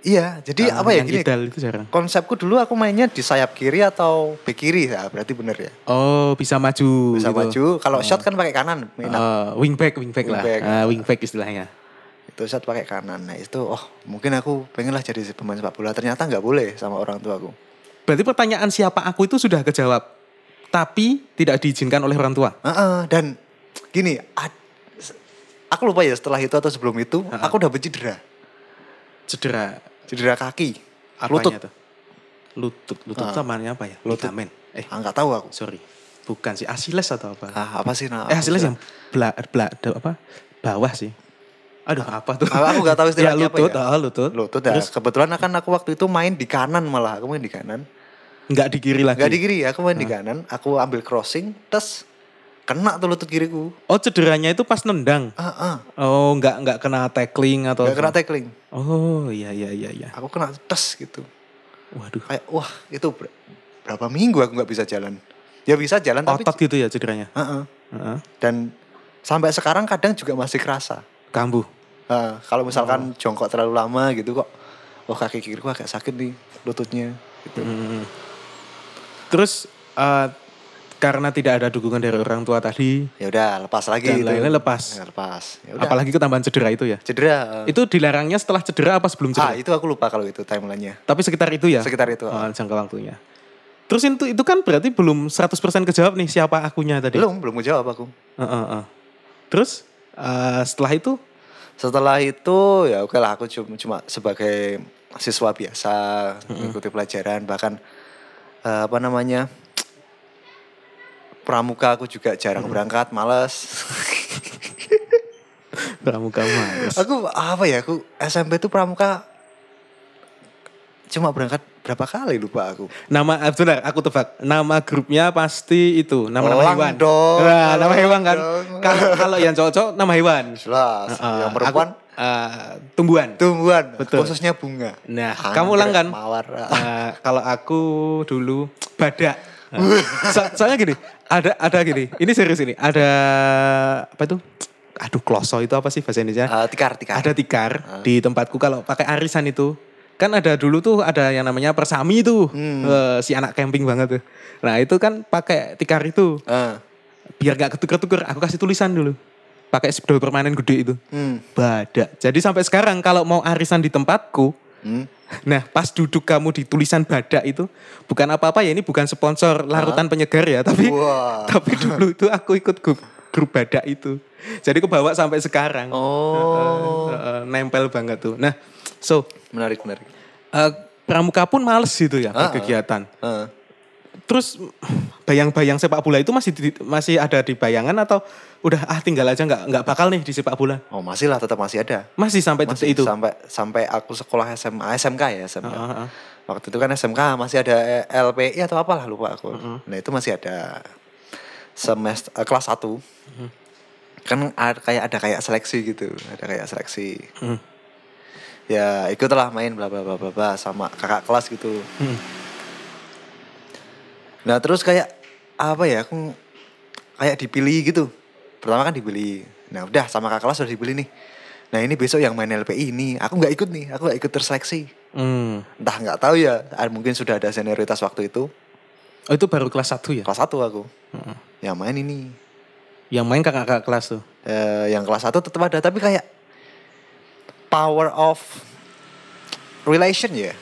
S8: iya, jadi
S1: Ah,
S8: apa ya
S1: yang
S8: gini.
S1: Kidal itu jarang.
S8: Konsepku dulu aku mainnya di sayap kiri atau back kiri. Nah, berarti bener ya.
S1: Oh, bisa maju
S8: Bisa
S1: gitu.
S8: maju, kalau shot kan pakai kanan. mainan.
S1: Eh, wingback, wingback lah.
S8: Wingback.
S1: Ah, wingback istilahnya.
S8: itu shot pakai kanan. Nah, itu oh, mungkin aku pengenlah jadi pemain sepak bola. Ternyata nggak boleh sama orang tuaku.
S1: Berarti pertanyaan siapa aku itu sudah kejawab. Tapi tidak diizinkan oleh orang tua.
S8: Heeh, dan gini, ad- aku lupa ya setelah itu atau sebelum itu, aku dapet cedera,
S1: Cedera
S8: cedera kaki,
S1: apanya
S8: lutut. Ah.
S1: tuh? Lutut, lutut namanya apa ya?
S8: Lutut.
S1: Ligamen. Eh,
S8: Ah, nggak tahu aku.
S1: sorry. Bukan sih, Achilles atau apa?
S8: Ah, apa sih nah?
S1: Eh hasilnya yang belak belak apa bawah sih. Aduh apa tuh?
S8: Ah, aku nggak tahu istilahnya
S1: ya,
S8: apa
S1: lutut,
S8: ya.
S1: ah, lutut.
S8: Lutut ya.
S1: Terus
S8: Kebetulan kan aku waktu itu main di kanan malah, aku main di kanan.
S1: nggak di kiri lagi.
S8: Nggak di kiri, aku main di kanan. Aku ambil crossing, tes kena tuh lutut kiriku.
S1: Oh cederanya itu pas nendang.
S8: Ah, ah.
S1: Oh nggak nggak kena tackling atau.
S8: Nggak kena tackling.
S1: Oh iya iya iya iya.
S8: Aku kena tes gitu.
S1: Waduh.
S8: Kayak wah itu ber- berapa minggu aku nggak bisa jalan. Ya bisa jalan tapi
S1: Otot gitu ya cederanya.
S8: Ah, ah.
S1: Heeh.
S8: dan Sampai sekarang kadang juga masih kerasa.
S1: kambuh.
S8: Nah, kalau misalkan
S1: Oh.
S8: jongkok terlalu lama gitu kok, oh kaki kiri gua agak sakit nih lututnya. Gitu.
S1: Hmm. Terus eh, karena tidak ada dukungan dari orang tua tadi
S8: Ya udah lepas lagi.
S1: dan
S8: itu.
S1: lainnya lepas.
S8: Ya, lepas. Ya udah.
S1: Apalagi ketambahan cedera itu ya.
S8: cedera. eh.
S1: Itu dilarangnya setelah cedera apa sebelum
S8: ah
S1: cedera?
S8: itu aku lupa kalau itu timelinenya.
S1: Tapi sekitar itu ya.
S8: Sekitar itu. Ah.
S1: Oh, jangka waktunya. Terus itu itu kan berarti belum 100% kejawab nih siapa akunya tadi.
S8: Belum belum jawab aku.
S1: Heeh, heeh. Terus eh, setelah itu
S8: Setelah itu ya oke lah aku cuma, cuma sebagai siswa biasa mengikuti pelajaran bahkan eh, apa namanya pramuka aku juga jarang berangkat malas.
S1: pramuka males.
S8: aku apa ya aku SMP tuh pramuka cuma berangkat berapa kali lupa aku.
S1: Nama eh, bentar, aku tebak. Nama grupnya pasti itu, nama-nama
S8: Elang
S1: hewan.
S8: dong,
S1: Nah, nama
S8: elang
S1: hewan kan.
S8: dong.
S1: Kalau kalau yang cocok nama hewan.
S8: Jelas.
S1: Heeh,
S8: yang perempuan
S1: aku, eh, tumbuhan.
S8: tumbuhan
S1: Betul.
S8: khususnya bunga.
S1: Nah,
S8: Anggrek,
S1: kamu ulang kan?
S8: Mawar.
S1: Eh, kalau aku dulu badak. Eh, so- soalnya gini, ada ada gini. Ini serius ini. Ada apa itu? Aduh, kloso itu apa sih bahasa Indonesia?
S8: Eh, tikar tikar. Ah.
S1: Ada tikar di tempatku kalau pakai arisan itu. Kan ada dulu tuh ada yang namanya persami tuh.
S8: Hmm.
S1: Eh, si anak camping banget tuh. Nah, itu kan pakai tikar itu.
S8: Eh,
S1: Biar gak ketuker-tuker, aku kasih tulisan dulu. Pakai spidol permanen gede itu.
S8: hmm,
S1: Badak. Jadi sampai sekarang kalau mau arisan di tempatku,
S8: hmm.
S1: Nah, pas duduk kamu di tulisan badak itu bukan apa-apa ya ini bukan sponsor larutan penyegar ya, tapi
S8: Ah. Wah.
S1: tapi dulu itu aku ikut grup, grup badak itu. Jadi kebawa sampai sekarang.
S8: Oh.
S1: Eh, eh, eh, nempel banget tuh. Nah, so
S8: Menarik menarik.
S1: eh, pramuka pun males gitu ya
S8: Ah, ah.
S1: kegiatan.
S8: Eh.
S1: Terus bayang-bayang sepak bola itu masih di- masih ada di bayangan atau udah ah tinggal aja nggak nggak bakal nih di sepak bola.
S8: Oh masih lah tetap masih ada.
S1: Masih sampai detik
S8: Masih
S1: itu.
S8: sampai sampai aku sekolah SMA SMK ya SMK.
S1: Ah, ah, ah.
S8: Waktu itu kan SMK masih ada eh, LPI atau apalah lupa aku. Nah itu masih ada semester eh, kelas 1 kan ada, kayak ada kayak seleksi gitu ada kayak seleksi.
S1: Mhm.
S8: Ya ikutlah main bla bla bla bla bla sama kakak kelas gitu.
S1: Mhm.
S8: Nah terus kayak apa ya aku kayak dipilih gitu. Pertama kan dipilih. Nah udah sama kakak kelas sudah dipilih nih. Nah ini besok yang main LPI ini aku nggak ikut nih, aku nggak ikut terseleksi.
S1: Hmm.
S8: Entah nggak tahu ya, ah, mungkin sudah ada senioritas waktu itu.
S1: Oh, itu baru kelas 1 ya.
S8: Kelas 1 aku.
S1: Heeh.
S8: Yang main ini.
S1: Yang main kakak-kakak kelas tuh.
S8: Eh, yang kelas 1 tetap ada tapi kayak power of relation ya.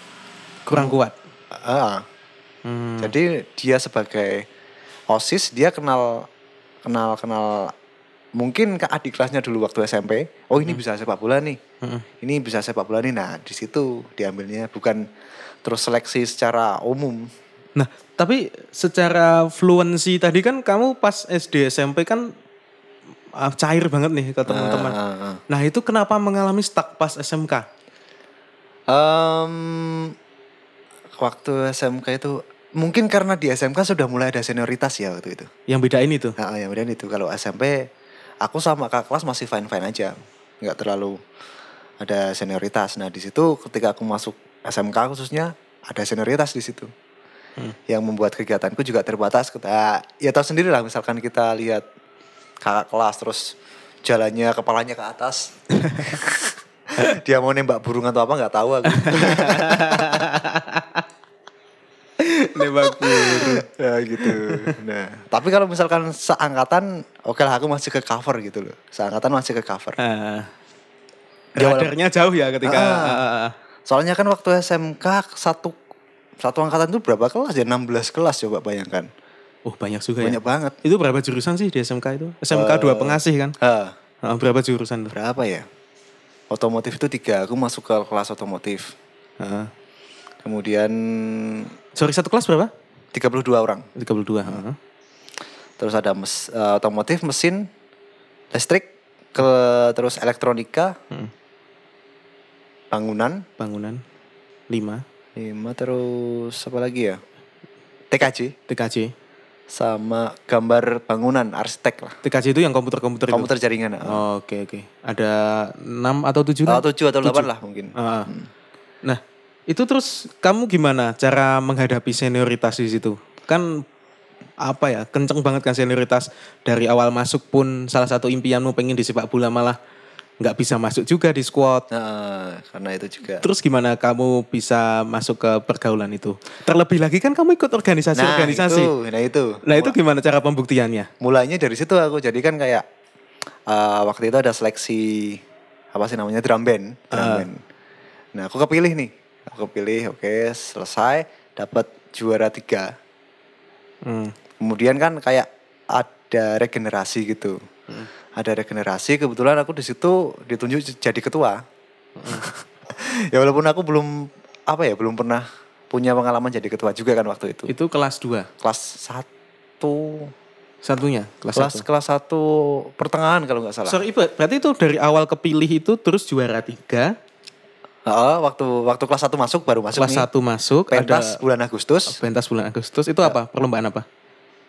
S1: kurang kuat.
S8: Ah,
S1: Hmm.
S8: Jadi dia sebagai OSIS dia kenal kenal kenal mungkin ke adik kelasnya dulu waktu SMP. Oh ini bisa sepak bola nih.
S1: Mm-mm.
S8: Ini bisa sepak bola nih. Nah, di situ diambilnya bukan terus seleksi secara umum.
S1: Nah, tapi secara fluensi tadi kan kamu pas SD SMP kan ah, cair banget nih ke teman-teman.
S8: Ah, ah, ah.
S1: Nah, itu kenapa mengalami stuck pas SMK?
S8: Em, waktu SMK itu mungkin karena di SMK sudah mulai ada senioritas ya waktu itu.
S1: Yang beda ini tuh.
S8: Nah, yang kemudian itu kalau SMP aku sama kakak kelas masih fine fine aja, nggak terlalu ada senioritas. Nah di situ ketika aku masuk SMK khususnya ada senioritas di situ, yang membuat kegiatanku juga terbatas. Kita ya tahu sendiri lah, misalkan kita lihat kakak kelas terus jalannya kepalanya ke atas. Dia mau nembak burung atau apa nggak tahu aku.
S1: Nembak peluru.
S8: ya gitu. Nah, tapi kalau misalkan seangkatan, oke lah aku masih ke cover gitu loh. Seangkatan masih ke cover.
S1: Ah.
S8: Dia wala-
S1: Radarnya jauh ya ketika
S8: Ah.
S1: ah, ah, ah.
S8: Soalnya kan waktu SMK satu satu angkatan itu berapa kelas ya? 16 kelas coba bayangkan.
S1: Oh, banyak juga ya.
S8: Banyak banget.
S1: Itu berapa jurusan sih di SMK itu? SMK dua pengasih kan?
S8: Eh,
S1: Ah, berapa jurusan tuh?
S8: berapa ya? Otomotif itu tiga. Aku masuk ke kelas otomotif.
S1: Ah.
S8: Kemudian
S1: Sorry, satu kelas berapa?
S8: 32 orang.
S1: 32. ah.
S8: Terus ada mes- eh, otomotif, mesin, listrik, ke terus elektronika,
S1: Mm.
S8: bangunan,
S1: Bangunan. 5.
S8: lima terus apa lagi ya? TKJ
S1: TKJ.
S8: sama gambar bangunan arsitek lah.
S1: TKJ itu yang komputer-komputer itu?
S8: Komputer jaringan. eh.
S1: Oke oke. Ada 6 atau 7
S8: Oh, tujuh Ah, atau delapan lah mungkin. Hmm.
S1: Nah, itu terus kamu gimana cara menghadapi senioritas di situ? Kan apa ya kenceng banget kan senioritas dari awal masuk pun salah satu impianmu pengen di sepak bola malah nggak bisa masuk juga di squad
S8: Nah, karena itu juga.
S1: terus gimana kamu bisa masuk ke pergaulan itu terlebih lagi kan kamu ikut organisasi
S8: nah,
S1: organisasi
S8: itu, nah itu.
S1: nah itu gimana cara pembuktiannya
S8: mulainya dari situ aku jadi kan kayak eh, waktu itu ada seleksi apa sih namanya drum band, drum
S1: Ah.
S8: band. Nah aku kepilih nih, aku kepilih, oke selesai, dapat juara tiga.
S1: Hmm.
S8: Kemudian kan kayak ada regenerasi gitu,
S1: Hmm.
S8: ada regenerasi. Kebetulan aku di situ ditunjuk jadi ketua.
S1: Hmm.
S8: ya walaupun aku belum apa ya belum pernah punya pengalaman jadi ketua juga kan waktu itu.
S1: itu kelas 2
S8: Kelas satu
S1: satunya kelas,
S8: kelas
S1: satu.
S8: kelas satu pertengahan kalau nggak salah.
S1: sorry Ibu, berarti itu dari awal kepilih itu terus juara tiga
S8: Heeh, waktu waktu kelas satu masuk baru masuk
S1: kelas
S8: nih.
S1: satu masuk
S8: pentas Ya.
S1: ada
S8: bulan Agustus.
S1: pentas bulan Agustus itu apa perlombaan apa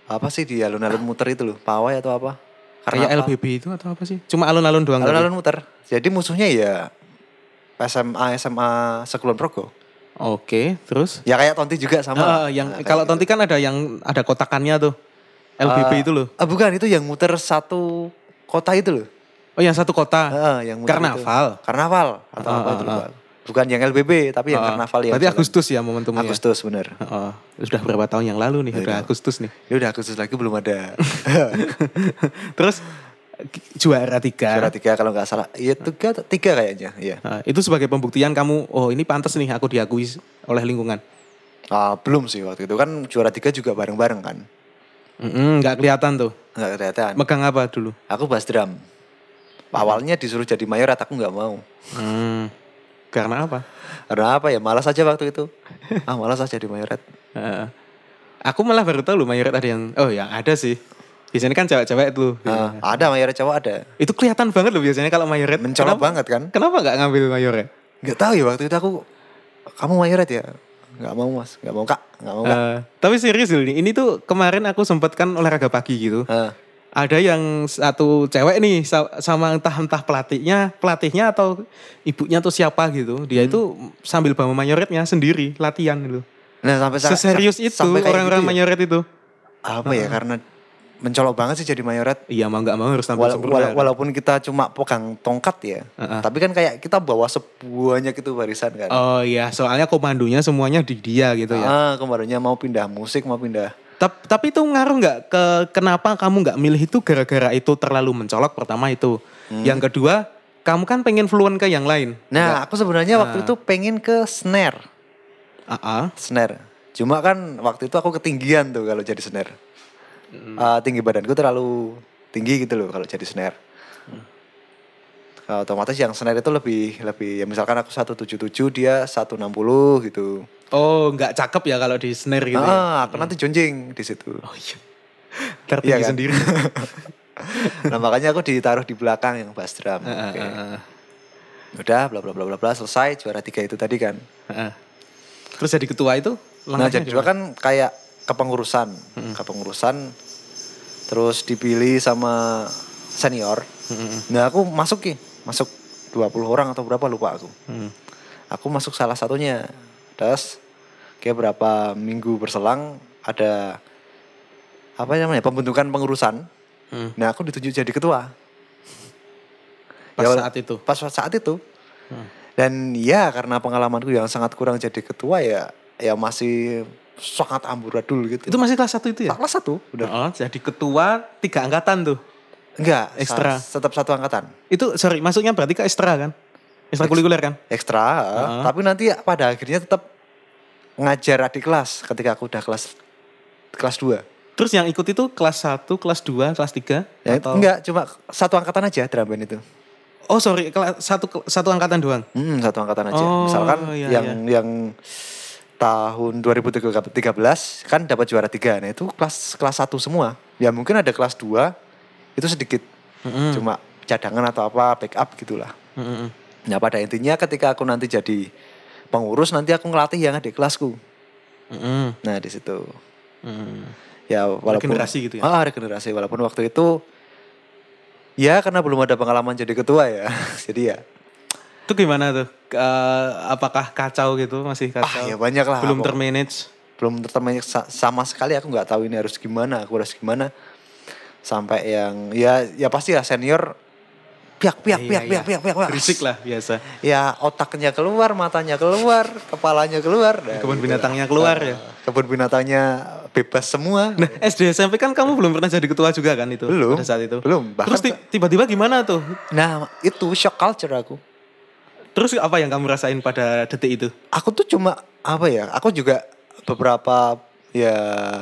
S8: Apa sih di alun-alun muter itu loh, pawai atau apa?
S1: kayak
S8: apa?
S1: LBB itu atau apa sih cuma alun-alun doang tadi?
S8: Alun-alun muter. Jadi musuhnya ya SMA SMA Sekulon Progo.
S1: Oke, terus?
S8: Ya kayak Tonti juga sama.
S1: Ah, yang
S8: Nah, kayak
S1: kalau
S8: gitu.
S1: Tonti kan ada yang ada kotakannya tuh. LBB
S8: Ah.
S1: itu loh.
S8: Ah, bukan itu yang muter satu kota itu loh.
S1: Oh, yang satu kota.
S8: Heeh, yang muter
S1: Karnaval.
S8: Itu. Karnaval atau
S1: Ah,
S8: apa
S1: ah,
S8: itu lupa. Bukan yang LBB tapi oh, yang
S1: Ah,
S8: karnaval yang
S1: Berarti
S8: jalan.
S1: Agustus ya momentumnya.
S8: Agustus bener.
S1: Oh, sudah berapa tahun yang lalu nih,
S8: Iya.
S1: udah Agustus nih.
S8: Ini udah Agustus lagi belum ada.
S1: Terus juara tiga.
S8: Juara tiga kalau nggak salah. Iya tiga, tiga kayaknya. Iya.
S1: Ah, itu sebagai pembuktian kamu, oh ini pantas nih aku diakui oleh lingkungan.
S8: Ah, belum sih waktu itu kan juara tiga juga bareng-bareng kan.
S1: Mm-mm, Nggak kelihatan tuh.
S8: Nggak kelihatan.
S1: Megang apa dulu?
S8: Aku bass drum. Awalnya disuruh jadi mayorat aku nggak mau.
S1: Hmm, karena apa?
S8: Karena apa ya malas aja waktu itu. Ah malas aja jadi mayorat.
S1: Ah, aku malah baru tahu loh mayorat ada yang, oh ya ada sih. Biasanya kan cewek-cewek tuh.
S8: Ah, ada mayorat cowok ada.
S1: Itu kelihatan banget loh biasanya kalau mayoret.
S8: Mencolok
S1: Kenapa-
S8: banget kan.
S1: Kenapa nggak ngambil mayoret?
S8: Nggak tahu ya waktu itu aku. Kamu mayorat ya? Nggak mau mas. Nggak mau kak. Nggak mau kak.
S1: Eh, tapi serius loh ini, ini tuh kemarin aku sempet kan olahraga pagi gitu.
S8: Ah,
S1: Ada yang satu cewek nih sa- sama entah entah pelatihnya, pelatihnya atau ibunya atau siapa gitu.
S8: Hmm.
S1: Dia itu sambil bawa mayoretnya sendiri latihan gitu.
S8: Nah sampai sa-
S1: Seserius
S8: sa-
S1: itu
S8: sampai kayak
S1: orang-orang
S8: gitu ya.
S1: mayoret itu.
S8: Apa ya karena mencolok banget sih jadi mayorat.
S1: Iya mau nggak mau harus tampil
S8: Wala-
S1: sempurna. ya?
S8: wala- walaupun kita cuma pegang tongkat ya,
S1: Heeh.
S8: tapi kan kayak kita bawa sebuahnya gitu barisan kan.
S1: Oh iya, soalnya komandonya semuanya di dia gitu ya.
S8: Ah, kemarinnya mau pindah musik, mau pindah.
S1: Tap- Tapi itu ngaruh nggak ke kenapa kamu nggak milih itu gara-gara itu terlalu mencolok pertama itu.
S8: Hmm.
S1: Yang kedua, kamu kan pengen fluent ke yang lain.
S8: Nah, aku sebenarnya
S1: Ah.
S8: waktu itu pengen ke snare,
S1: Aa,
S8: snare. Cuma kan waktu itu aku ketinggian tuh kalau jadi snare.
S1: Hmm.
S8: Ah, tinggi badanku terlalu tinggi gitu loh kalau jadi snare. Ah, otomatis yang snare itu lebih lebih ya misalkan aku 177 dia 160 gitu.
S1: Oh, nggak cakep ya kalau di snare gitu. ya?
S8: ah, aku nanti jonjing di situ.
S1: Oh iya. Tertinggi
S8: Iya kan?
S1: sendiri.
S8: nah makanya aku ditaruh di belakang yang bass drum.
S1: Heeh,
S8: Oke.
S1: heeh,
S8: Udah bla bla bla bla bla selesai juara tiga itu tadi kan.
S1: heeh. Terus jadi ketua itu
S8: Nah
S1: langkahnya
S8: jadi dua
S1: gimana?
S8: kan kayak kepengurusan, kepengurusan terus dipilih sama senior.
S1: Heeh,
S8: Nah aku masuk ki, masuk 20 orang atau berapa lupa aku.
S1: heeh.
S8: Aku masuk salah satunya. Terus kayak berapa minggu berselang ada apa namanya pembentukan pengurusan.
S1: Hmm.
S8: Nah aku ditunjuk jadi ketua.
S1: Pas
S8: Ya, wala-
S1: saat itu.
S8: pas saat itu.
S1: Hmm.
S8: Dan ya karena pengalamanku yang sangat kurang jadi ketua ya ya masih sangat amburadul gitu.
S1: Itu masih kelas satu itu ya?
S8: kelas satu udah.
S1: Oh, jadi ketua tiga angkatan tuh.
S8: Enggak,
S1: Ekstra.
S8: sa- tetap satu angkatan.
S1: Itu sorry, masuknya berarti ke ekstra kan? Ekstra kulikuler kan?
S8: Ekstra,
S1: Heeh.
S8: tapi nanti ya pada akhirnya tetap ngajar adik kelas ketika aku udah kelas kelas 2.
S1: Terus yang ikut itu kelas 1, kelas 2, kelas 3
S8: Ya,
S1: atau
S8: Enggak, cuma satu angkatan aja drum band itu.
S1: Oh, sorry, kelas satu satu angkatan doang.
S8: Hmm, satu angkatan aja.
S1: Oh,
S8: Misalkan
S1: iya,
S8: yang yang tahun 2013 kan dapat juara tiga. Nah, itu kelas kelas satu semua. Ya mungkin ada kelas 2 itu sedikit
S1: Mm-mm,
S8: cuma cadangan atau apa backup gitulah.
S1: mm-mm.
S8: Nah, pada intinya ketika aku nanti jadi pengurus nanti aku ngelatih yang ada di kelasku.
S1: Mm-mm,
S8: Nah, di situ.
S1: mm.
S8: Ya walaupun
S1: Regenerasi gitu ya?
S8: Ah, regenerasi walaupun waktu itu ya karena belum ada pengalaman jadi ketua ya. jadi ya
S1: Itu gimana tuh? Ke- apakah kacau gitu? Masih
S8: ah
S1: kacau?
S8: ya banyak lah.
S1: Belum
S8: Aku-
S1: termanage?
S8: belum tertemannya sa- sama sekali aku nggak tahu ini harus gimana aku harus gimana sampai yang ya ya pasti ya senior piak piak
S1: Iya,
S8: piak
S1: iya.
S8: piak piak piak piak.
S1: Berisik lah biasa.
S8: ya otaknya keluar matanya keluar kepalanya keluar Nah,
S1: Kebun
S8: gitu
S1: binatangnya keluar ya.
S8: kebun binatangnya bebas semua
S1: Nah SD SMP kan kamu belum pernah jadi ketua juga kan itu?
S8: Belum.
S1: Pada saat itu.
S8: Belum, bahkan
S1: Terus ti- tiba-tiba gimana tuh?
S8: nah itu shock culture aku
S1: Terus apa yang kamu rasain pada detik itu?
S8: aku tuh cuma apa ya aku juga beberapa ya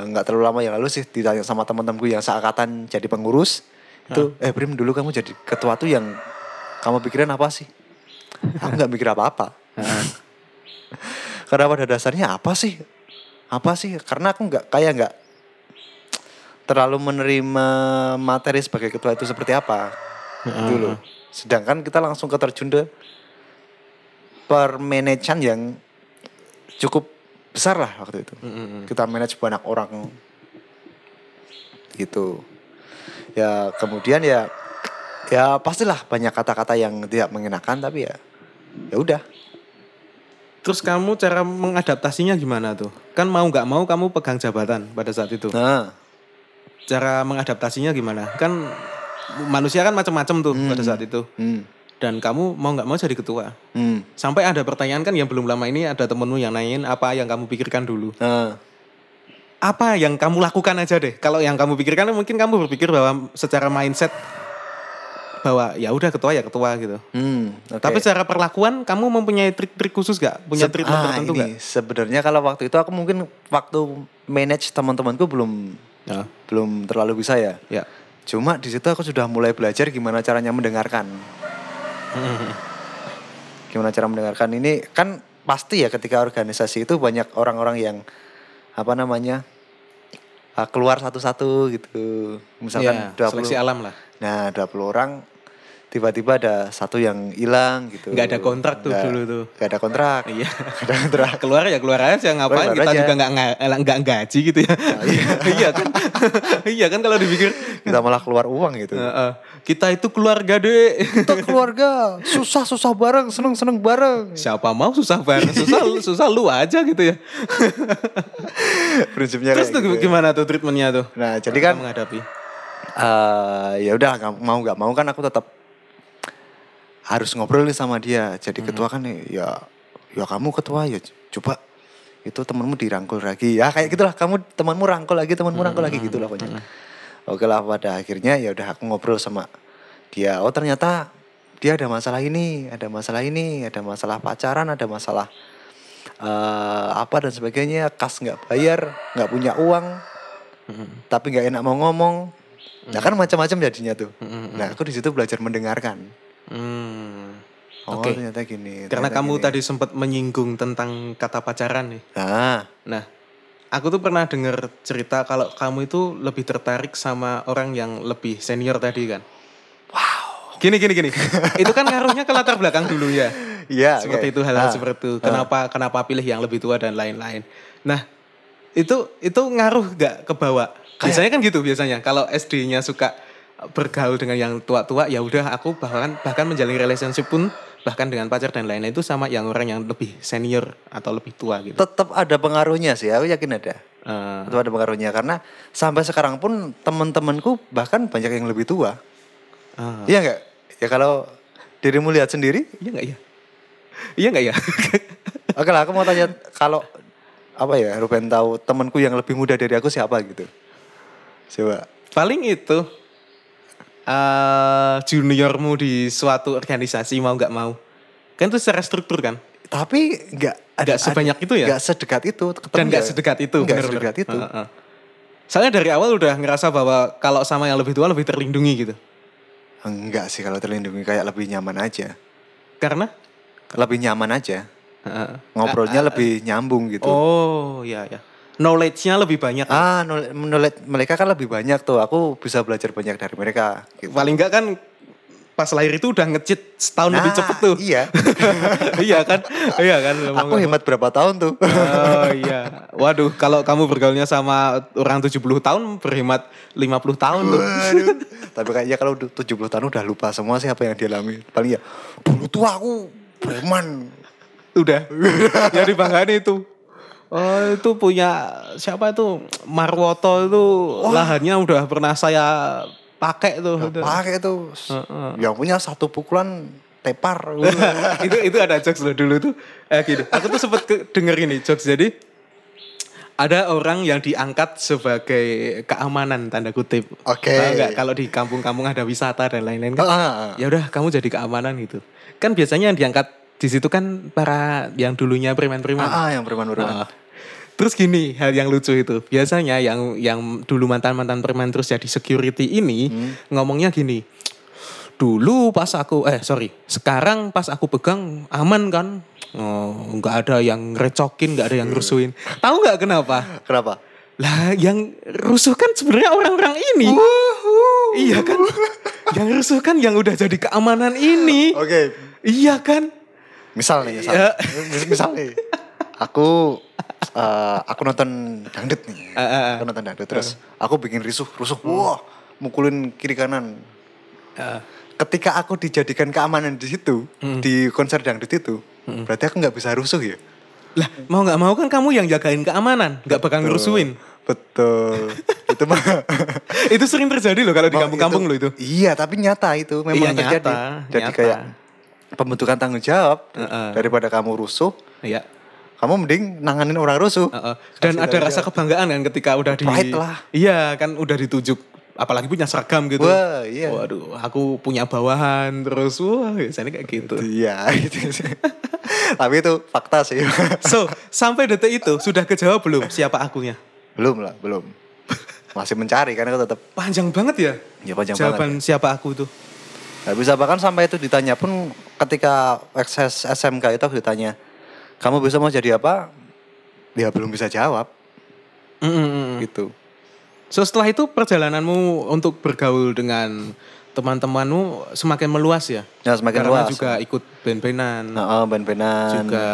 S8: nggak terlalu lama yang lalu sih ditanya sama teman-temanku yang seangkatan jadi pengurus itu eh Prim dulu kamu jadi ketua tuh yang kamu pikirin apa sih aku nggak mikir apa-apa karena pada dasarnya apa sih apa sih karena aku nggak kayak nggak terlalu menerima materi sebagai ketua itu seperti apa dulu sedangkan kita langsung keterjun ke permanajan yang cukup besar lah waktu itu. Kita manage banyak orang gitu. Ya kemudian ya ya pastilah banyak kata-kata yang tidak mengenakan tapi ya ya udah.
S1: Terus kamu cara mengadaptasinya gimana tuh? Kan mau nggak mau kamu pegang jabatan pada saat itu.
S8: Nah,
S1: Cara mengadaptasinya gimana? Kan manusia kan macam-macam tuh
S8: Hmm.
S1: pada saat itu.
S8: hmm,
S1: Dan kamu mau nggak mau jadi ketua.
S8: hmm,
S1: Sampai ada pertanyaan kan yang belum lama ini ada temenmu yang nanyain apa yang kamu pikirkan dulu.
S8: nah,
S1: Apa yang kamu lakukan aja deh. Kalau yang kamu pikirkan mungkin kamu berpikir bahwa secara mindset bahwa ya udah ketua ya ketua gitu.
S8: hmm, oke.
S1: Tapi secara perlakuan kamu mempunyai trik-trik khusus gak? Punya
S8: Se-
S1: treatment
S8: ah,
S1: tertentu
S8: ini,
S1: gak?
S8: Sebenarnya kalau waktu itu aku mungkin waktu manage teman-temanku belum
S1: Ya.
S8: belum terlalu bisa ya.
S1: Ya.
S8: Cuma di situ aku sudah mulai belajar gimana caranya mendengarkan. gimana cara mendengarkan ini kan pasti ya ketika organisasi itu banyak orang-orang yang apa namanya ah, keluar satu-satu gitu.
S1: Ya,
S8: Misalkan 20.
S1: seleksi alam lah.
S8: Nah, 20 orang tiba-tiba ada satu yang hilang gitu.
S1: Nggak ada kontrak tuh
S8: Nggak-
S1: dulu tuh.
S8: Nggak ada kontrak.
S1: Iya.
S8: Nggak ada kontrak.
S1: keluar ya keluar aja ngapain
S8: Keluar
S1: kita
S8: aja. Ah,
S1: juga nggak nga- eh, nggak gaji gitu ya iya. kan iya kan kalau dipikir
S8: Kita malah keluar uang gitu.
S1: "Heeh, kita itu keluarga deh
S8: Kita keluarga, susah-susah bareng, seneng-seneng bareng.
S1: siapa mau susah banget susah susah lu aja gitu ya
S8: Prinsipnya
S1: terus
S8: kayak
S1: tuh
S8: gitu ya.
S1: gimana tuh treatmentnya tuh
S8: Nah, jadi kan
S1: Kita menghadapi
S8: eh, ya udah nggak- mau nggak mau kan aku tetap harus ngobrol nih sama dia. Jadi
S1: Hmm.
S8: ketua kan ya ya kamu ketua ya c- coba itu temanmu dirangkul lagi ya kayak gitulah kamu temanmu rangkul lagi temanmu rangkul lagi gitulah pokoknya. Oke lah pada akhirnya ya udah aku ngobrol sama dia. Oh ternyata dia ada masalah ini, ada masalah ini, ada masalah pacaran, ada masalah eh, apa dan sebagainya. Kas nggak bayar, nggak punya uang, tapi nggak enak mau ngomong. Nah kan macam-macam jadinya tuh. Nah aku di situ belajar mendengarkan.
S1: Hmm.
S8: Oh
S1: Oke.
S8: ternyata gini.
S1: karena
S8: ternyata
S1: kamu
S8: gini.
S1: tadi sempat menyinggung tentang kata pacaran nih
S8: Nah
S1: Nah, aku tuh pernah dengar cerita kalau kamu itu lebih tertarik sama orang yang lebih senior tadi kan. Wow. Gini gini gini. itu kan ngaruhnya ke latar belakang dulu ya.
S8: iya.
S1: seperti
S8: oke.
S1: itu hal-hal
S8: Ah,
S1: seperti itu. Kenapa kenapa pilih yang lebih tua dan lain-lain. Nah, itu itu ngaruh gak ke bawah? Biasanya kan gitu biasanya. Kalau SD-nya suka bergaul dengan yang tua-tua ya udah aku bahkan bahkan menjalin relationship pun bahkan dengan pacar dan lain-lain itu sama yang orang yang lebih senior atau lebih tua gitu.
S8: Tetap ada pengaruhnya sih. Aku yakin ada.
S1: Eh,
S8: Tetap ada pengaruhnya karena sampai sekarang pun teman-temanku bahkan banyak yang lebih tua.
S1: ah.
S8: Iya nggak? Ya kalau dirimu lihat sendiri.
S1: Iya nggak ya? Iya nggak ya?
S8: Oke lah aku mau tanya kalau apa ya Ruben tahu temanku yang lebih muda dari aku siapa gitu. Coba.
S1: Paling itu eh juniormu di suatu organisasi mau nggak mau, kan itu secara struktur kan?
S8: Tapi nggak
S1: Nggak sebanyak itu ya?
S8: Nggak sedekat itu. ketemu
S1: Dan nggak
S8: ya.
S1: sedekat itu.
S8: Nggak
S1: bener-bener. Ah,
S8: sedekat itu.
S1: Heeh. Soalnya dari awal udah ngerasa bahwa kalau sama yang lebih tua lebih terlindungi gitu.
S8: Enggak sih kalau terlindungi kayak lebih nyaman aja.
S1: Karena?
S8: Lebih nyaman aja.
S1: Heeh.
S8: Ngobrolnya lebih nyambung gitu.
S1: Ah, Oh ya
S8: iya.
S1: ya. Knowledge-nya lebih banyak.
S8: Ah, nol- menurut mereka kan lebih banyak tuh. Aku bisa belajar banyak dari mereka. Gitu.
S1: Paling nggak kan pas lahir itu udah ngecit setahun lebih
S8: Nah,
S1: cepet tuh.
S8: Iya.
S1: iya kan? Iya kan?
S8: aku hemat berapa tahun tuh?
S1: Oh iya. Waduh, kalau kamu bergaulnya sama orang 70 tahun berhemat 50 tahun tuh.
S8: Waduh. Tapi kayaknya kalau udah 70 tahun udah lupa semua sih apa yang dialami. Paling ya dulu tuh aku preman.
S1: Udah. ya dibanggain itu. Oh itu punya siapa itu Marwoto itu lahannya udah pernah saya pakai tuh.
S8: Gak
S1: Udah.
S8: pakai tuh.
S1: Heeh.
S8: Yang punya satu pukulan tepar.
S1: itu itu ada jokes loh dulu tuh. Eh gini, aku tuh sempet ke- denger ini jokes jadi ada orang yang diangkat sebagai keamanan tanda kutip.
S8: Oke.
S1: Tahu nggak kalau di kampung-kampung ada wisata dan lain-lain kan?
S8: Ah,
S1: Ya udah kamu jadi keamanan gitu. Kan biasanya yang diangkat di situ kan para yang dulunya
S8: ah,
S1: preman-preman.
S8: ah, yang preman-preman.
S1: Nah, Terus gini, hal yang lucu itu. Biasanya yang yang dulu mantan-mantan preman terus jadi security ini ngomongnya gini. Dulu pas aku eh sorry, sekarang pas aku pegang aman kan? Oh, nggak ada yang recokin, nggak ada yang rusuhin. Tahu nggak kenapa?
S8: Kenapa?
S1: Lah, yang rusuh kan sebenarnya orang-orang ini. Iya kan? yang rusuh kan yang udah jadi keamanan ini.
S8: Oke,
S1: Iya kan?
S8: misal nih, misal,
S1: Iya.
S8: Mis- misal nih, aku eh, aku nonton dangdut nih,
S1: Ah, Hmm. ah, ah.
S8: aku nonton dangdut terus aku bikin risuh, rusuh, wah mukulin kiri kanan.
S1: Ah.
S8: Ketika aku dijadikan keamanan di situ
S1: Hmm.
S8: di konser dangdut itu, berarti aku nggak bisa rusuh ya?
S1: Lah, mau nggak mau kan kamu yang jagain keamanan, nggak bakal
S8: Betul.
S1: ngerusuin.
S8: Betul, itu mah
S1: itu sering terjadi loh kalau di kampung-kampung lo Oh, itu.
S8: Iya, tapi nyata itu
S1: Iya,
S8: memang terjadi.
S1: nyata,
S8: Jadi
S1: nyata. Ah,
S8: kayak pembentukan tanggung jawab
S1: Heeh.
S8: daripada kamu rusuh,
S1: Iya.
S8: kamu mending nanganin orang rusuh.
S1: heeh. Dan
S8: Kasih
S1: ada
S8: tanggung
S1: rasa
S8: jawab.
S1: kebanggaan kan ketika udah di
S8: Pride lah.
S1: Iya, kan udah ditunjuk apalagi punya seragam gitu.
S8: Wah, iya.
S1: Waduh, aku punya bawahan terus wah biasanya kayak gitu.
S8: Iya, gitu sih. Tapi itu fakta sih.
S1: So, sampai detik itu sudah kejawab belum siapa akunya?
S8: belum lah, belum. Masih mencari karena aku tetap
S1: Panjang banget ya?
S8: ya panjang
S1: Jawaban
S8: banget.
S1: siapa aku itu?
S8: Gak bisa bahkan sampai itu ditanya pun ketika ekses SMK itu aku ditanya, "Kamu bisa mau jadi apa?" Ya belum bisa jawab
S1: Mm, Mm-mm.
S8: gitu.
S1: So, setelah itu perjalananmu untuk bergaul dengan teman-temanmu semakin meluas ya?
S8: Nah, semakin
S1: Karena
S8: luas.
S1: juga ikut band-bandan.
S8: Nah, oh, ben-benan.
S1: juga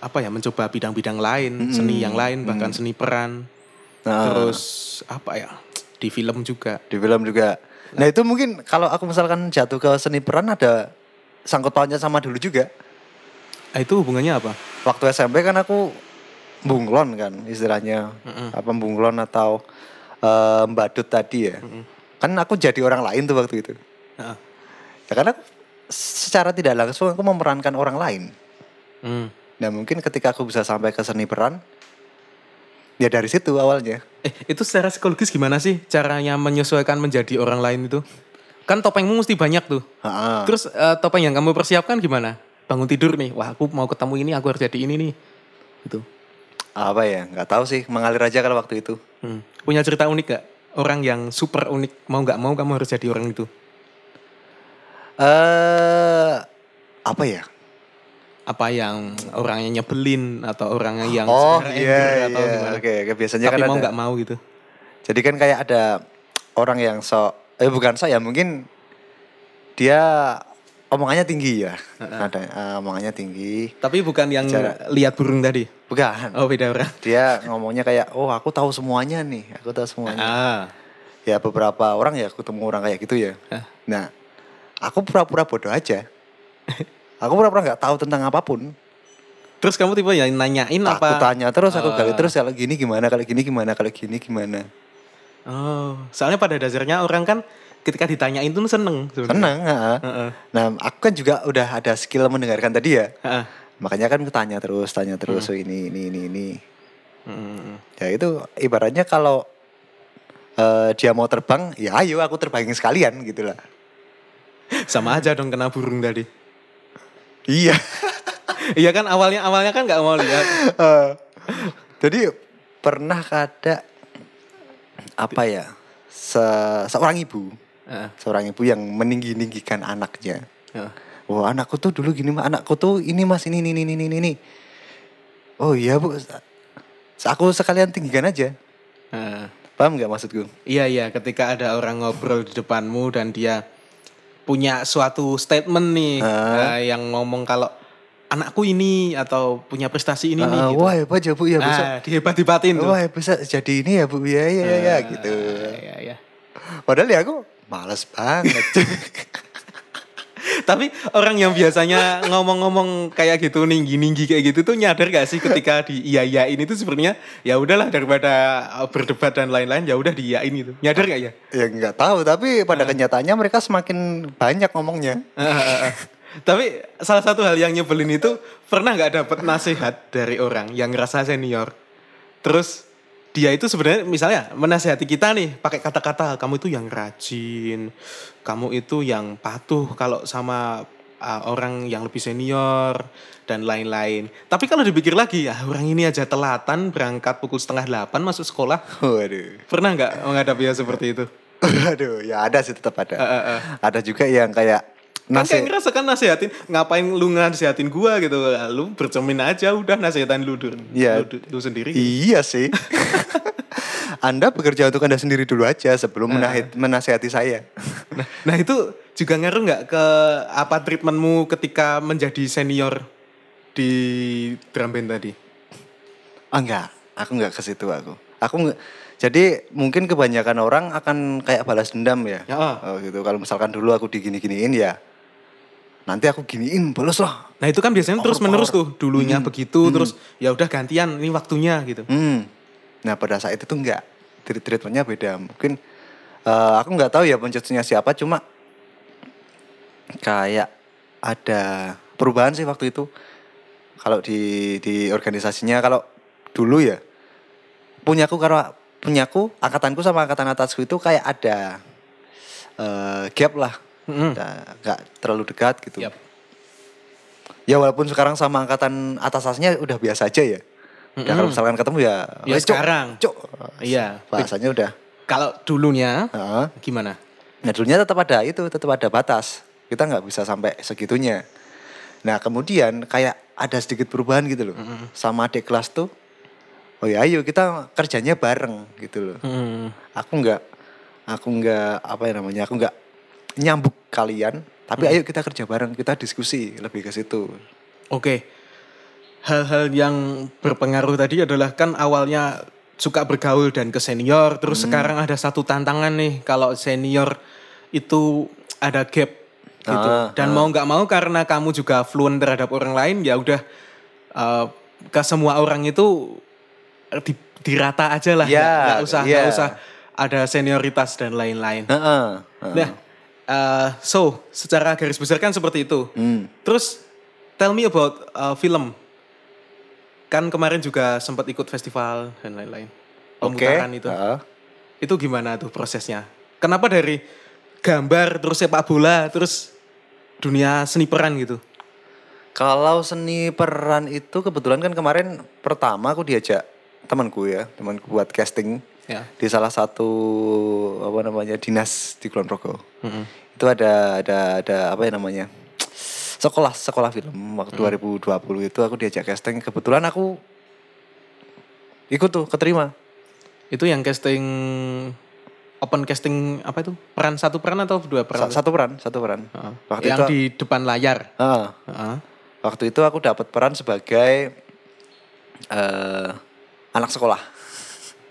S1: apa ya mencoba bidang-bidang lain
S8: Mm-mm.
S1: seni yang lain bahkan seni peran
S8: Nah.
S1: terus apa ya di film juga
S8: di film juga. Nah itu mungkin kalau aku misalkan jatuh ke seni peran ada sangkut pautnya sama dulu juga.
S1: Ah, itu hubungannya apa
S8: Waktu SMP kan aku bunglon kan istilahnya
S1: Mm-mm.
S8: apa bunglon atau eh, badut tadi ya. Kan aku jadi orang lain tuh waktu itu.
S1: Heeh.
S8: Ya karena aku secara tidak langsung aku memerankan orang lain.
S1: Hmm.
S8: Nah mungkin ketika aku bisa sampai ke seni peran, ya dari situ awalnya.
S1: eh itu secara psikologis gimana sih caranya menyesuaikan menjadi orang lain itu kan topengmu mesti banyak tuh
S8: Ha-ha.
S1: terus eh, topeng yang kamu persiapkan gimana bangun tidur nih wah aku mau ketemu ini aku harus jadi ini nih Gitu. itu
S8: Apa ya? Nggak tahu sih. Mengalir aja kalau waktu itu.
S1: Hmm. punya cerita unik gak orang yang super unik mau nggak mau kamu harus jadi orang itu
S8: Eh apa ya?
S1: apa yang orangnya nyebelin atau orang yang
S8: Oh
S1: sebenarnya anger
S8: iya
S1: atau
S8: iya.
S1: gimana.
S8: Oke oke biasanya
S1: Tapi
S8: kan
S1: mau
S8: ada.
S1: nggak mau gitu.
S8: Jadi kan kayak ada orang yang sok eh bukan sok ya mungkin dia omongannya tinggi ya. Ada eh, omongannya tinggi.
S1: Tapi bukan yang
S8: Bicara.
S1: lihat burung tadi.
S8: Bukan.
S1: Oh beda orang.
S8: Dia ngomongnya kayak oh aku tahu semuanya nih. Aku tahu semuanya.
S1: Ah.
S8: Ya beberapa orang ya aku ketemu orang kayak gitu ya.
S1: Hah.
S8: Nah, aku pura-pura bodoh aja. Aku pura-pura nggak tahu tentang apapun.
S1: Terus kamu tipe yang nanyain
S8: Aku
S1: apa?
S8: tanya terus, aku
S1: Ah.
S8: gali terus kalau gini gimana, kalau gini gimana, kalau gini gimana.
S1: Oh, soalnya pada dasarnya orang kan ketika ditanyain tuh seneng. sebenarnya.
S8: Seneng, heeh.
S1: Heeh.
S8: Nah, aku kan juga udah ada skill mendengarkan tadi ya.
S1: Heeh.
S8: Makanya kan tanya terus, tanya terus "Oh, ini ini ini ini.
S1: Mm.
S8: Ya itu ibaratnya kalau eh, dia mau terbang, ya ayo aku terbangin sekalian gitu lah.
S1: Sama aja dong kena burung tadi.
S8: Iya.
S1: iya kan awalnya awalnya kan nggak mau lihat.
S8: Eh, Jadi pernah ada apa ya? se- seorang ibu,
S1: Heeh.
S8: seorang ibu yang meninggi-ninggikan anaknya.
S1: Heeh.
S8: Wah anakku tuh dulu gini mas, anakku tuh ini mas ini ini ini ini ini, ini. Oh iya bu, Sa- aku sekalian tinggikan aja.
S1: Heeh.
S8: Paham nggak maksudku?
S1: Iya iya, ketika ada orang ngobrol di depanmu dan dia punya suatu statement nih
S8: Ah.
S1: eh, yang ngomong kalau anakku ini atau punya prestasi ini nih
S8: Ah,
S1: gitu.
S8: Wah hebat ya bu ya bisa.
S1: nah, dihebat-hebatin tuh.
S8: Wah bisa jadi ini ya bu ya ya ya, ya
S1: Eh.
S8: gitu.
S1: Ah, iya, iya.
S8: Padahal ya aku males banget.
S1: Tapi orang yang biasanya ngomong-ngomong kayak gitu ninggi-ninggi kayak gitu tuh nyadar gak sih ketika di iya iyain itu sebenarnya ya udahlah daripada eh, berdebat dan lain-lain ya udah diiyain gitu. Nyadar gak ya?
S8: ya nggak tahu tapi pada
S1: Ah.
S8: kenyataannya mereka semakin banyak ngomongnya
S1: Tapi salah satu hal yang nyebelin itu pernah nggak dapet nasihat dari orang yang ngerasa senior. Terus dia itu sebenarnya misalnya menasehati kita nih pakai kata-kata kamu itu yang rajin, kamu itu yang patuh kalau sama uh, orang yang lebih senior dan lain-lain. Tapi kalau dipikir lagi, ah, orang ini aja telatan berangkat pukul setengah delapan masuk sekolah.
S8: waduh
S1: Pernah nggak menghadapi yang seperti itu?
S8: waduh ya ada sih tetap ada
S1: Eh, eh, eh.
S8: ada juga yang kayak
S1: Kan kayak
S8: nasi
S1: ngerasa kan nasihatin, ngapain lu nasihatin gua gitu. Lu bercermin aja udah nasihatin lu, Dur.
S8: Iya.
S1: Lu, lu sendiri.
S8: iya sih Anda bekerja untuk Anda sendiri dulu aja
S1: Ah.
S8: sebelum menahit- menasehati saya.
S1: Nah, nah itu juga ngaruh nggak ke apa treatmentmu ketika menjadi senior di drum band tadi?
S8: Ah enggak, aku enggak ke situ aku. Aku enggak, jadi mungkin kebanyakan orang akan kayak balas dendam ya.
S1: Ya, ah.
S8: Oh, gitu. Kalau misalkan dulu aku digini-giniin ya nanti aku giniin balas lah.
S1: Nah itu kan biasanya
S8: Power,
S1: terus menerus tuh dulunya
S8: Hmm.
S1: begitu
S8: Hmm.
S1: terus ya udah gantian ini waktunya gitu.
S8: Hmm. Nah, pada saat itu enggak. Treat- Treatmentnya beda. Mungkin eh, aku enggak tahu ya pencetusnya siapa cuma kayak ada perubahan sih waktu itu. Kalau di di organisasinya kalau dulu ya punyaku karo punyaku angkatanku sama angkatan atasku itu kayak ada eh, gap lah
S1: Mm-mm.
S8: Nah, nggak terlalu dekat gitu
S1: Yap.
S8: ya walaupun sekarang sama angkatan atas atasnya udah biasa aja ya Ya, kalau misalkan ketemu ya
S1: Ya
S8: "Wes, Cuk,
S1: sekarang.
S8: Cuk."
S1: Iya.
S8: bahasanya udah
S1: Kalau dulunya
S8: Heeh.
S1: gimana?
S8: Nah dulunya tetap ada itu, tetap ada batas. Kita nggak bisa sampai segitunya. Nah kemudian kayak ada sedikit perubahan gitu loh. Sama adik kelas tuh, oh ya ayo kita kerjanya bareng gitu loh.
S1: Hmm.
S8: Aku nggak, aku nggak apa ya namanya, aku nggak nyambuk kalian. Tapi
S1: Mm.
S8: ayo kita kerja bareng, kita diskusi lebih ke situ.
S1: Oke. Hal-hal yang berpengaruh tadi adalah kan awalnya suka bergaul dan ke senior,
S8: Hmm.
S1: terus sekarang ada satu tantangan nih kalau senior itu ada gap gitu.
S8: Ah,
S1: dan mau nggak mau karena kamu juga fluent terhadap orang lain ya udah eh, ke semua orang itu di, dirata aja lah,
S8: Ya,
S1: nggak nggak usah nggak
S8: ya. Ah,
S1: usah ada senioritas dan lain-lain.
S8: Heeh, heeh.
S1: Nah, eh, so secara garis besar kan seperti itu.
S8: Hmm.
S1: Terus tell me about uh, film. Kan kemarin juga sempat ikut festival dan lain-lain.
S8: Oke. Nah.
S1: Pemutaran itu.
S8: heeh.
S1: Itu gimana tuh prosesnya? Kenapa dari gambar terus sepak bola terus dunia seni peran gitu?
S8: Kalau seni peran itu kebetulan kan kemarin pertama aku diajak temanku ya, temanku buat casting
S1: Ya.
S8: di salah satu apa namanya dinas di Kulonprogo. Itu ada ada ada apa ya namanya? Sekolah sekolah film
S1: Hmm.
S8: waktu 2020 itu aku diajak casting kebetulan aku ikut tuh keterima.
S1: Itu yang casting open casting apa itu? Peran satu peran atau dua
S8: Sa-
S1: peran?
S8: Satu peran, satu peran.
S1: Heeh.
S8: Waktu
S1: yang
S8: itu-
S1: di depan layar.
S8: Heeh.
S1: Heeh.
S8: waktu itu aku dapat peran sebagai eh anak sekolah.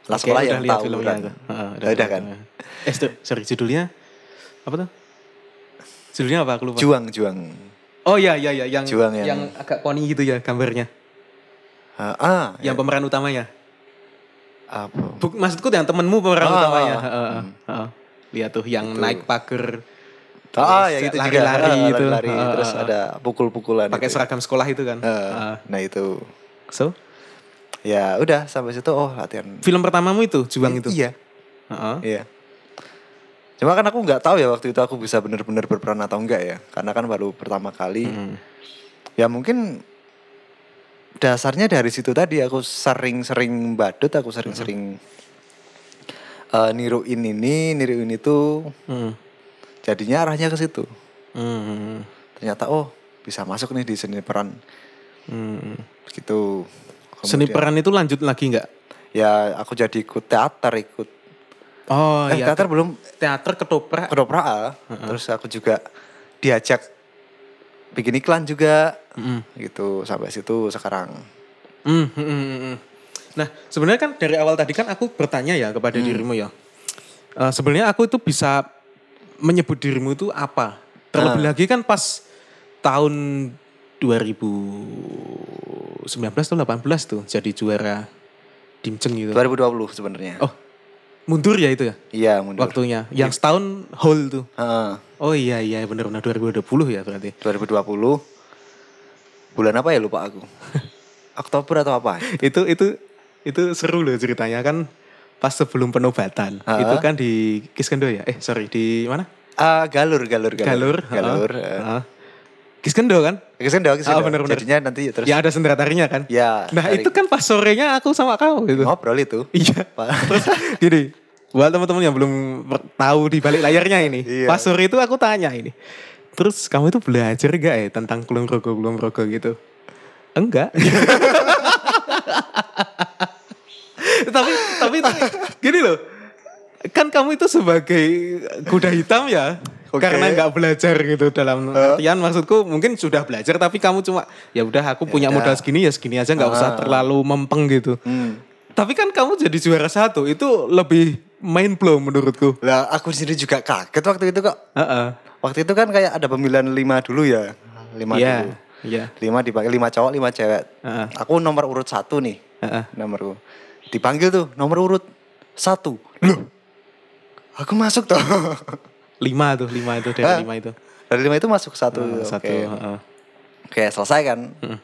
S8: Anak
S1: Oke,
S8: sekolah
S1: udah
S8: yang
S1: lihat
S8: tahu
S1: filmnya
S8: kan.
S1: tuh. Heeh,
S8: Udah
S1: lihat
S8: kan?
S1: filmnya. Eh, stu- sorry, judulnya apa tuh? Judulnya apa? Aku lupa.
S8: Juang, juang.
S1: Oh iya iya iya yang
S8: Juang ya. yang-
S1: yang agak poni gitu ya gambarnya.
S8: Ah, ah,
S1: Yang pemeran utamanya.
S8: apa?
S1: Buk, maksudku yang temenmu pemeran
S8: Ah,
S1: utamanya.
S8: ah, ah.
S1: Heeh, heeh, heeh. Lihat tuh yang
S8: Itu.
S1: naik pagar.
S8: Ah,
S1: terus
S8: ya itu juga.
S1: lari-lari
S8: Ah,
S1: itu.
S8: lari-lari.
S1: Ah,
S8: terus
S1: ah,
S8: ada pukul-pukulan.
S1: Pakai
S8: itu.
S1: seragam sekolah itu kan.
S8: Ah,
S1: Heeh.
S8: nah itu.
S1: So,
S8: Ya udah sampai situ. Oh latihan.
S1: film pertamamu itu Juang itu.
S8: Iya,
S1: Heeh.
S8: iya. Cuma kan aku nggak tahu ya waktu itu aku bisa benar-benar berperan atau enggak ya. Karena kan baru pertama kali.
S1: Mm.
S8: Ya mungkin dasarnya dari situ tadi aku sering-sering badut, aku sering-sering
S1: Mm-hmm.
S8: eh, niruin ini, niruin itu.
S1: Mm.
S8: Jadinya arahnya ke situ.
S1: Mm.
S8: Ternyata oh bisa masuk nih di seni peran
S1: Mm.
S8: begitu.
S1: Seni
S8: Kemudian,
S1: peran itu lanjut lagi nggak?
S8: Ya aku jadi ikut teater ikut.
S1: Oh
S8: eh,
S1: iya. Mm-hmm.
S8: teater belum
S1: teater ketoprak.
S8: kedoprak. Terus aku juga diajak bikin iklan juga
S1: Mm.
S8: gitu sampai situ sekarang.
S1: Hmm, hmm, hmm, hmm. Nah, sebenarnya kan dari awal tadi kan aku bertanya ya kepada dirimu ya. Eh, sebenarnya aku itu bisa menyebut dirimu itu apa? Terlebih lagi kan pas tahun 2019 atau 18 tuh jadi juara Dimceng gitu.
S8: 2020 sebenarnya.
S1: Oh. Mundur ya itu ya
S8: Iya mundur.
S1: waktunya. Yang setahun whole tuh.
S8: Heeh,
S1: Oh iya iya benar-benar 2020 ya berarti.
S8: 2020 bulan apa ya lupa aku. Oktober atau apa?
S1: itu itu itu seru loh ceritanya kan pas sebelum penobatan
S8: Ha?
S1: itu kan di Kiskendo ya eh sorry di mana
S8: Ah galur galur
S1: Galur
S8: galur galur. eh.
S1: ha. Kiskendo kan
S8: Kesendok, kesendok.
S1: bener-bener.
S8: Jadinya nanti ya terus.
S1: ya ada sendiratarinya kan
S8: Ya,
S1: nah
S8: dari-
S1: itu kan pas sorenya aku sama kau gitu
S8: ngobrol itu.
S1: iya
S8: Pak.
S1: terus gini buat teman-teman yang belum per- tahu di balik layarnya ini
S8: Iya.
S1: pas sore itu aku tanya ini terus kamu itu belajar gak ya tentang kulon rogo kulon rogo gitu enggak tapi tapi itu gini loh kan kamu itu sebagai kuda hitam ya
S8: Oke.
S1: karena nggak belajar gitu dalam
S8: Oh.
S1: artian maksudku mungkin sudah belajar tapi kamu cuma ya udah aku punya
S8: udah.
S1: modal segini ya segini aja nggak usah
S8: Ah.
S1: terlalu mempeng gitu
S8: Hmm.
S1: tapi kan kamu jadi juara satu itu lebih mind blow menurutku
S8: Lah aku sendiri juga kaget waktu itu kok.
S1: Heeh.
S8: Waktu itu kan kayak ada pemilihan lima dulu ya. Lima dulu.
S1: Iya, iya.
S8: Lima dipanggil lima cowok, lima cewek.
S1: Heeh.
S8: Aku nomor urut satu nih.
S1: Heeh.
S8: Nomorku. Dipanggil tuh nomor urut satu. Loh. Aku masuk toh.
S1: Lima tuh, lima itu
S8: Hah?
S1: dari lima itu.
S8: Dari lima itu masuk satu.
S1: Heeh,
S8: Oke.
S1: satu. heeh.
S8: Oke selesai kan.
S1: Hmm.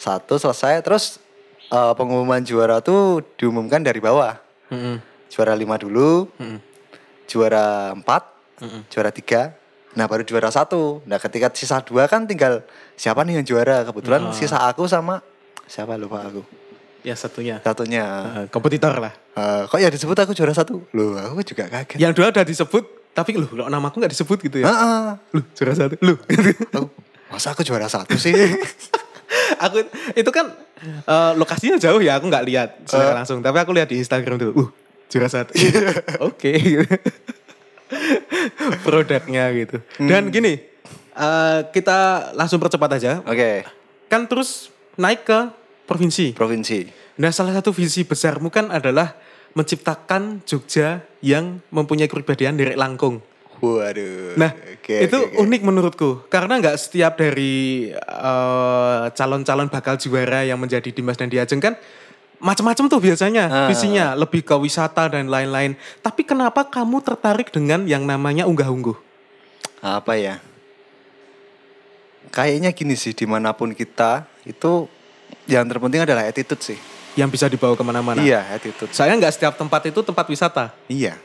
S8: Satu selesai terus eh, pengumuman juara tuh diumumkan dari bawah.
S1: Heeh.
S8: Juara lima dulu.
S1: Heeh.
S8: Juara empat.
S1: Heeh.
S8: Juara tiga. Nah baru juara satu. Nah ketika sisa dua kan tinggal siapa nih yang juara. Kebetulan
S1: Ah.
S8: sisa aku sama siapa lupa aku.
S1: Ya satunya.
S8: Satunya.
S1: Heeh, kompetitor lah.
S8: Eh, kok ya disebut aku juara satu? Loh aku juga kaget.
S1: Yang dua udah disebut, tapi loh, kok namaku nggak disebut gitu ya.
S8: Heeh.
S1: Loh, juara satu. Loh. gitu.
S8: Aku, masa aku juara satu sih?
S1: aku itu kan eh, lokasinya jauh ya, aku nggak lihat secara langsung, tapi aku lihat di Instagram tuh. Uh, juara satu. Oke. Produknya gitu. Dan gini, eh, kita langsung percepat aja.
S8: Oke.
S1: kan terus naik ke provinsi.
S8: Provinsi.
S1: Nah, salah satu visi besarmu kan adalah menciptakan Jogja yang mempunyai kepribadian dari Langkung.
S8: Waduh.
S1: Nah,
S8: Oke,
S1: itu
S8: oke, oke.
S1: unik menurutku karena nggak setiap dari eh, calon-calon bakal juara yang menjadi Dimas dan Diajeng kan macam-macam tuh biasanya
S8: Ah.
S1: visinya lebih ke wisata dan lain-lain. Tapi kenapa kamu tertarik dengan yang namanya unggah-ungguh?
S8: apa ya kayaknya gini sih dimanapun kita itu yang terpenting adalah attitude sih
S1: Yang bisa dibawa kemana-mana.
S8: iya attitude
S1: Saya nggak setiap tempat itu tempat wisata.
S8: iya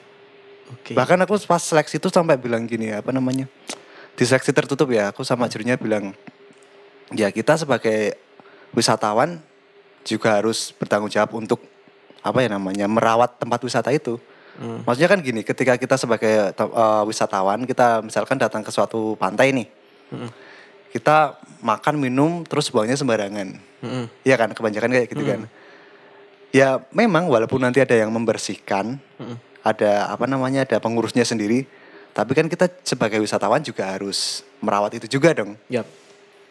S1: Oke.
S8: bahkan aku pas seleksi itu sampai bilang gini apa namanya di seleksi tertutup ya aku sama jurinya bilang ya kita sebagai wisatawan juga harus bertanggung jawab untuk apa ya namanya merawat tempat wisata itu
S1: Hmm.
S8: maksudnya kan gini ketika kita sebagai te- eh, wisatawan kita misalkan datang ke suatu pantai nih
S1: Mm-mm.
S8: kita makan minum terus buangnya sembarangan
S1: Mm-mm.
S8: Iya kan kebanyakan kayak
S1: Hmm.
S8: gitu kan. Ya memang walaupun nanti ada yang membersihkan,
S1: Mm-mm.
S8: ada apa namanya ada pengurusnya sendiri, tapi kan kita sebagai wisatawan juga harus merawat itu juga dong.
S1: Yap.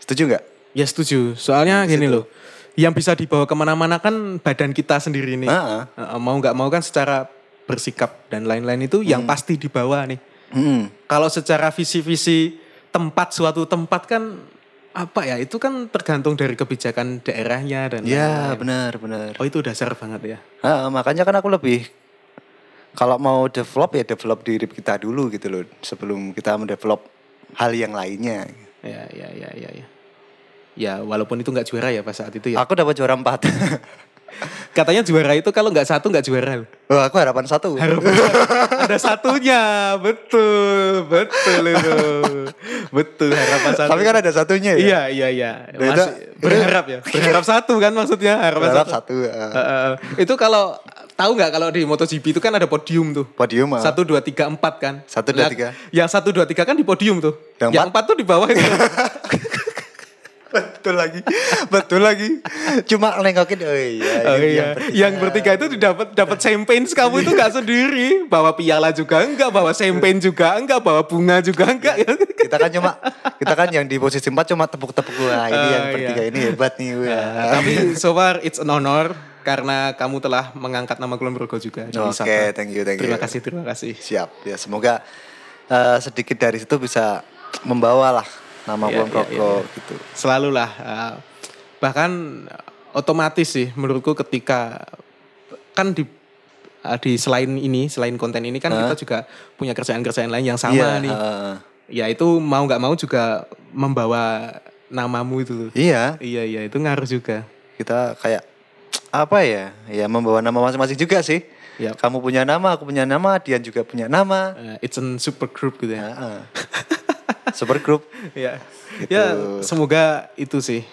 S8: Setuju nggak?
S1: Ya setuju. Soalnya
S8: Di
S1: gini
S8: situ.
S1: loh, yang bisa dibawa kemana-mana kan badan kita sendiri nih.
S8: Heeh.
S1: Eh, Mau nggak mau kan secara bersikap dan lain-lain itu yang
S8: Hmm.
S1: pasti dibawa nih.
S8: Mm-mm.
S1: Kalau secara visi-visi tempat suatu tempat kan apa ya itu kan tergantung dari kebijakan daerahnya dan
S8: Ya
S1: lain-lain.
S8: benar benar.
S1: Oh itu dasar banget ya.
S8: Heeh, makanya kan aku lebih kalau mau develop ya develop diri kita dulu gitu loh sebelum kita mendevelop hal yang lainnya.
S1: Ya ya ya ya ya. Ya walaupun itu nggak juara ya pas saat itu ya.
S8: Aku dapat juara empat.
S1: Katanya juara itu kalau nggak satu nggak juara. loh.
S8: Wah, Oh, aku harapan satu.
S1: Ada satunya, betul, betul itu, betul harapan satu.
S8: Tapi kan ada satunya ya.
S1: Iya iya iya.
S8: Nah, itu-
S1: Masih berharap ya. Berharap satu kan maksudnya harapan
S8: Berharap
S1: satu.
S8: satu. eh.
S1: Eh, eh, eh. itu kalau tahu nggak kalau di MotoGP itu kan ada podium tuh.
S8: Podium. eh.
S1: Satu dua tiga empat kan.
S8: Satu, dua,
S1: Lihat,
S8: tiga.
S1: Yang satu dua tiga kan di podium tuh.
S8: Yang
S1: Yang
S8: empat?
S1: empat tuh di bawah itu.
S8: betul lagi betul lagi cuma nengokin oh iya,
S1: Oh,
S8: ini
S1: iya. Yang bertiga itu didapat dapat champagne kamu itu nggak sendiri. Bawa piala juga enggak, bawa champagne juga enggak, bawa bunga juga enggak.
S8: kita kan cuma kita kan yang di posisi empat cuma tepuk-tepuk wah
S1: Oh,
S8: ini
S1: Nah,
S8: yang bertiga ini hebat nih wah.
S1: Tapi so far it's an honor karena kamu telah mengangkat nama Kulon Progo juga. di
S8: Oke,
S1: wisata.
S8: thank you, thank you.
S1: Terima kasih, terima kasih.
S8: siap ya semoga eh, sedikit dari situ bisa membawalah nama
S1: Iya,
S8: uang
S1: iya,
S8: rokok
S1: iya,
S8: gitu.
S1: selalu lah eh, bahkan otomatis sih menurutku ketika kan di eh, di selain ini selain konten ini kan
S8: Hah?
S1: kita juga punya kerjaan-kerjaan lain yang sama
S8: Iya,
S1: nih
S8: heeh.
S1: ya itu mau nggak mau juga membawa namamu itu loh.
S8: iya,
S1: iya iya itu ngaruh juga
S8: kita kayak apa ya? Ya membawa nama masing-masing juga sih.
S1: Yap.
S8: Kamu punya nama, aku punya nama, Dian juga punya nama.
S1: Ya, Eh, it's a super group gitu ya
S8: Heeh. Super group.
S1: ya
S8: Gitu.
S1: ya semoga itu sih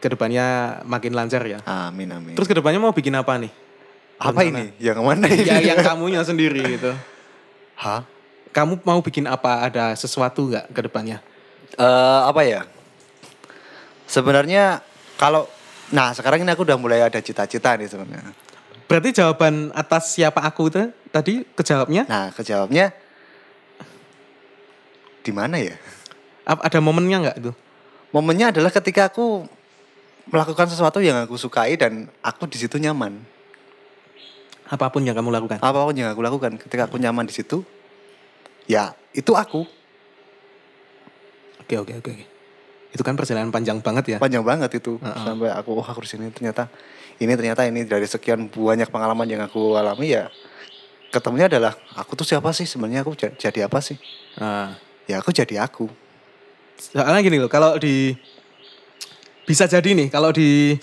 S1: kedepannya makin lancar ya
S8: Amin amin.
S1: terus kedepannya mau bikin apa nih
S8: apa ini? Yang mana ini?
S1: ya yang kamunya sendiri gitu
S8: Hah?
S1: kamu mau bikin apa ada sesuatu nggak ke depannya
S8: Eh, apa ya? Sebenarnya kalau nah sekarang ini aku udah mulai ada cita-cita nih sebenarnya.
S1: berarti jawaban atas siapa aku itu tadi kejawabnya
S8: Nah, kejawabnya di mana ya?
S1: ap- ada momennya nggak itu
S8: Momennya adalah ketika aku melakukan sesuatu yang aku sukai dan aku di situ nyaman.
S1: apapun yang kamu lakukan
S8: Apapun yang aku lakukan, ketika aku nyaman di situ, ya itu aku.
S1: oke oke oke oke. itu kan perjalanan panjang banget ya
S8: Panjang banget itu
S1: Heeh.
S8: sampai aku wah aku di sini ternyata ini ternyata ini dari sekian banyak pengalaman yang aku alami ya ketemunya adalah aku tuh siapa sih sebenarnya aku ja- jadi apa sih?
S1: Nah.
S8: Ya aku jadi aku.
S1: soalnya gini loh kalau di bisa jadi nih kalau di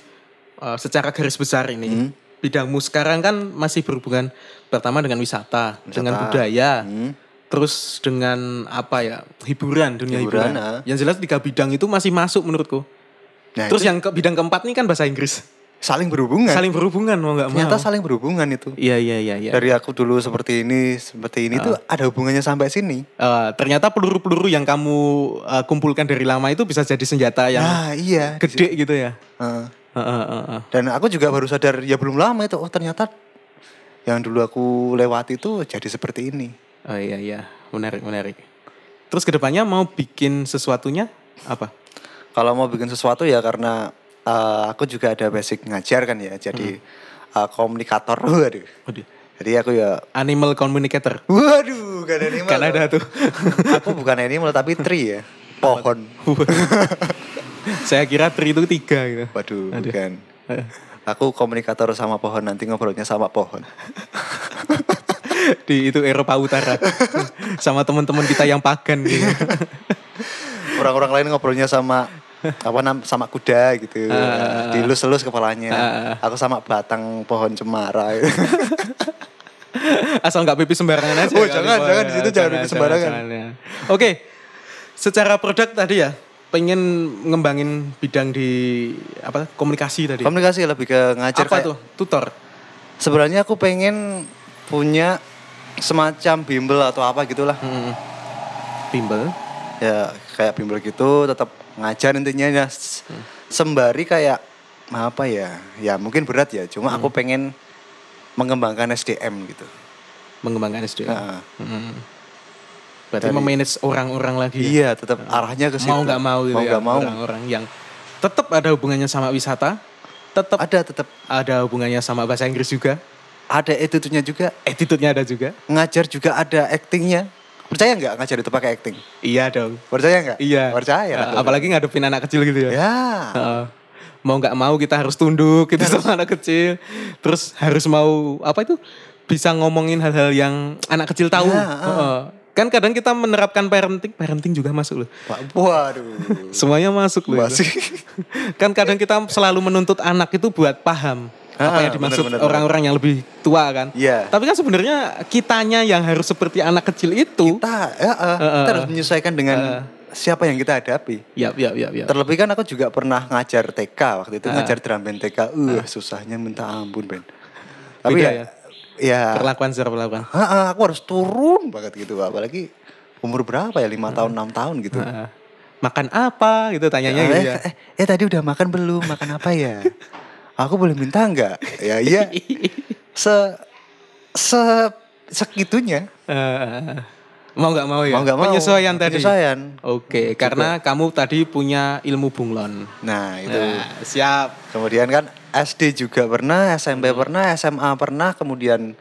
S1: eh, secara garis besar ini
S8: Hmm.
S1: bidangmu sekarang kan masih berhubungan pertama dengan wisata,
S8: Wisata.
S1: dengan budaya
S8: Hmm.
S1: terus dengan apa ya hiburan dunia hiburan,
S8: Hiburan, ah.
S1: yang jelas tiga bidang itu masih masuk menurutku
S8: Nah,
S1: terus
S8: itu
S1: yang ke bidang keempat nih kan bahasa Inggris
S8: saling berhubungan.
S1: saling berhubungan mau nggak mau
S8: ternyata saling berhubungan itu.
S1: iya iya iya iya.
S8: dari aku dulu seperti ini seperti ini tuh ada hubungannya sampai sini
S1: Eh, ternyata peluru-peluru yang kamu eh, kumpulkan dari lama itu bisa jadi senjata yang
S8: nah iya
S1: gede gitu ya
S8: Heeh.
S1: Heeh, heeh, heeh.
S8: dan aku juga baru sadar ya belum lama itu oh ternyata yang dulu aku lewati itu jadi seperti ini
S1: Oh iya iya, menarik menarik. Terus kedepannya mau bikin sesuatunya apa?
S8: kalau mau bikin sesuatu ya karena eh, aku juga ada basic ngajar kan ya jadi
S1: Hmm.
S8: eh, komunikator waduh
S1: Waduh,
S8: jadi aku ya
S1: Oh, animal communicator.
S8: waduh gak ada animal
S1: Kan ada tuh.
S8: aku bukan animal tapi tree ya pohon
S1: Saya kira tri itu tiga gitu.
S8: waduh
S1: Aduh.
S8: bukan
S1: Eh,
S8: aku komunikator sama pohon nanti ngobrolnya sama pohon
S1: Di itu Eropa Utara sama teman-teman kita yang pagan gitu.
S8: orang-orang lain ngobrolnya sama apa nam sama kuda gitu
S1: Ah,
S8: dilus-lus kepalanya aku sama batang pohon cemara gitu.
S1: Asal nggak pipi sembarangan aja.
S8: Oh,
S1: kali,
S8: jangan,
S1: Pak.
S8: jangan, di situ jangan pipi sembarangan.
S1: ya. Oke, secara produk tadi ya, pengen ngembangin bidang di apa komunikasi tadi.
S8: komunikasi lebih ke ngajar
S1: apa
S8: kayak-
S1: tuh? Tutor.
S8: sebenarnya aku pengen punya semacam bimbel atau apa gitulah
S1: Mm. Bimbel.
S8: ya kayak bimbel gitu tetap ngajar intinya ya S-
S1: Hmm.
S8: sembari kayak apa ya ya mungkin berat ya cuma aku
S1: Hmm.
S8: pengen mengembangkan SDM gitu Nah,
S1: mengembangkan SDM.
S8: Heeh.
S1: Mm. Berarti
S8: Dari-
S1: memanage orang-orang lagi. ya?
S8: iya tetap arahnya ke situ
S1: Mau nggak mau gitu
S8: mau
S1: ya,
S8: nggak mau
S1: Orang-orang yang tetap ada hubungannya sama wisata, tetap
S8: ada tetap
S1: ada hubungannya sama bahasa Inggris juga,
S8: ada attitude-nya juga
S1: attitude-nya ada juga.
S8: ngajar juga ada actingnya percaya nggak ngajar itu pakai acting
S1: Iya dong.
S8: percaya nggak
S1: Iya.
S8: percaya
S1: Eh, apalagi ngadepin anak kecil gitu ya.
S8: ya
S1: Heeh. mau nggak mau kita harus tunduk gitu sama anak kecil. Terus harus mau apa itu? Bisa ngomongin hal-hal yang anak kecil tahu.
S8: Ya,
S1: Heeh. Kan kadang kita menerapkan parenting, parenting juga masuk loh.
S8: Wah, waduh
S1: Semuanya masuk loh. itu.
S8: masih
S1: kan kadang kita selalu menuntut anak itu buat paham apa
S8: Ah,
S1: yang dimaksud
S8: benar, benar,
S1: orang-orang yang lebih tua kan.
S8: Iya.
S1: Tapi kan sebenarnya kitanya yang harus seperti anak kecil itu.
S8: kita ya, eh,
S1: Uh,
S8: kita harus menyesuaikan dengan siapa yang kita hadapi
S1: Ya, ya, ya, Uh. ya.
S8: terlebih kan aku juga pernah ngajar TK waktu itu ngajar drum band TK uh susahnya minta ampun Ben tapi
S1: Beda
S8: ya ya,
S1: Perlakuan secara perlakuan.
S8: ah, ah, aku harus turun banget gitu apalagi umur berapa ya lima tahun enam tahun gitu
S1: Heeh. makan apa gitu tanyanya
S8: Eh,
S1: gitu Uh. ya.
S8: eh, eh, tadi udah makan belum? Makan apa ya? Aku boleh minta nggak? Ya iya. Se se segitunya.
S1: Eh, mau nggak mau ya.
S8: Mau nggak mau.
S1: Penyesuaian tadi. Oh.
S8: Penyesuaian.
S1: Oke, karena kamu tadi punya ilmu bunglon.
S8: Nah itu.
S1: Nah, siap.
S8: Kemudian kan SD juga pernah, SMP
S1: Hmm.
S8: pernah, SMA pernah. Kemudian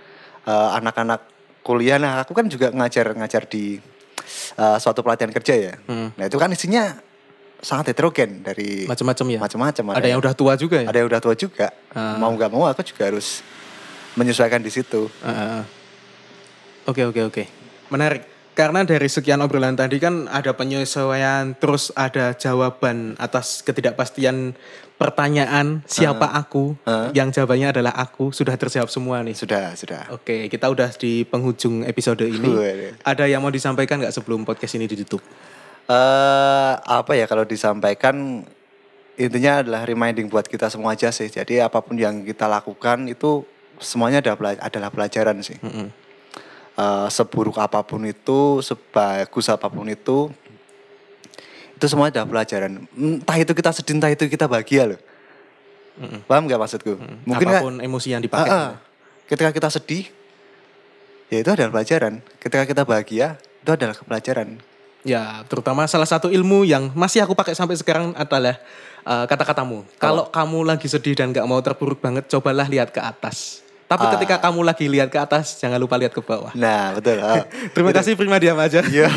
S8: eh, anak-anak kuliah. Nah aku kan juga ngajar ngajar di eh, suatu pelatihan kerja ya.
S1: Hmm.
S8: Nah itu kan isinya sangat heterogen dari
S1: Macam-macam ya.
S8: macam-macam.
S1: Ada yang udah tua juga ya.
S8: ada yang udah tua juga.
S1: Ah.
S8: Mau nggak mau aku juga harus menyesuaikan di situ.
S1: Ah, ah, ah. Oke oke oke. Menarik. Karena dari sekian obrolan tadi kan ada penyesuaian, terus ada jawaban atas ketidakpastian pertanyaan siapa aku,
S8: Ah.
S1: yang jawabannya adalah aku eh. sudah terjawab semua nih.
S8: Sudah, sudah.
S1: Oke, kita udah di penghujung episode ini.
S8: Waduh.
S1: Ada yang mau disampaikan nggak sebelum podcast ini ditutup?
S8: eh apa ya kalau disampaikan intinya adalah reminding buat kita semua aja sih. Jadi apapun yang kita lakukan itu semuanya ada pela- adalah pelajaran sih.
S1: Mm-mm.
S8: Eh, seburuk apapun itu, sebagus apapun itu, itu semua ada pelajaran. Entah itu kita sedih, entah itu kita bahagia loh.
S1: Mm-mm.
S8: Paham nggak maksudku? Mungkin nggak-
S1: Apapun emosi yang dipakai.
S8: Ah, ah. Ketika kita sedih, ya itu adalah pelajaran. Ketika kita bahagia, itu adalah pelajaran.
S1: Ya, terutama salah satu ilmu yang masih aku pakai sampai sekarang adalah eh, kata-katamu. Kalau kamu lagi sedih dan nggak mau terpuruk banget, cobalah lihat ke atas. Tapi
S8: Ah.
S1: ketika kamu lagi lihat ke atas, jangan lupa lihat ke bawah.
S8: Nah, betul. ah.
S1: Terima kasih Prima Diam aja.
S8: Iya.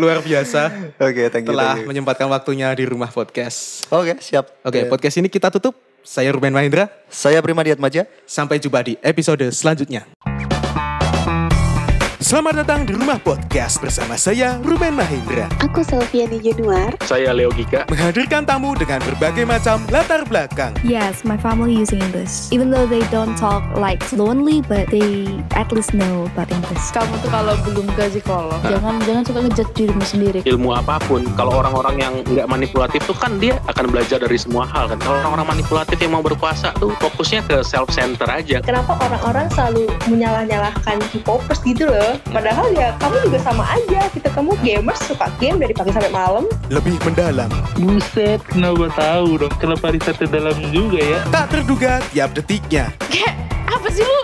S1: Luar biasa
S8: Oke, thank you.
S1: telah
S8: thank you.
S1: menyempatkan waktunya di rumah podcast.
S8: Oke, siap.
S1: Oke,
S8: Ya.
S1: podcast ini kita tutup. Saya Ruben Mahendra.
S8: Saya Prima Diatmaja.
S1: Sampai jumpa di episode selanjutnya. Selamat datang di rumah podcast bersama saya Ruben Mahendra.
S2: Aku Selviani Januar.
S3: Saya Leo Gika.
S1: Menghadirkan tamu dengan berbagai macam latar belakang.
S4: Yes, my family using English. Even though they don't talk like fluently, but they at least know about English.
S5: Kamu tuh kalau belum ke psikolog, ya. jangan jangan suka ngejat dirimu sendiri.
S3: ilmu apapun kalau orang-orang yang nggak manipulatif tuh kan dia akan belajar dari semua hal kan kalau orang-orang manipulatif yang mau berkuasa tuh fokusnya ke self center aja
S6: Kenapa orang-orang selalu menyalah-nyalahkan K-popers gitu loh? Padahal ya kamu juga sama aja gitu. Kamu gamers suka game dari pagi sampai malam.
S1: Lebih mendalam,
S7: Buset, kenapa tahu dong? Kenapa riset ke dalam juga ya?
S1: tak terduga tiap detiknya.
S5: Apa sih lu?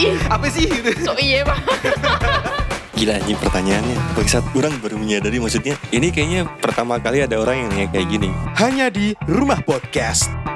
S5: Ih,
S1: Apa sih?
S5: so iya pak.
S9: Gila ini pertanyaannya. Bagi saat orang baru menyadari maksudnya ini kayaknya pertama kali ada orang yang nanya kayak gini.
S1: Hanya di Rumah Podcast.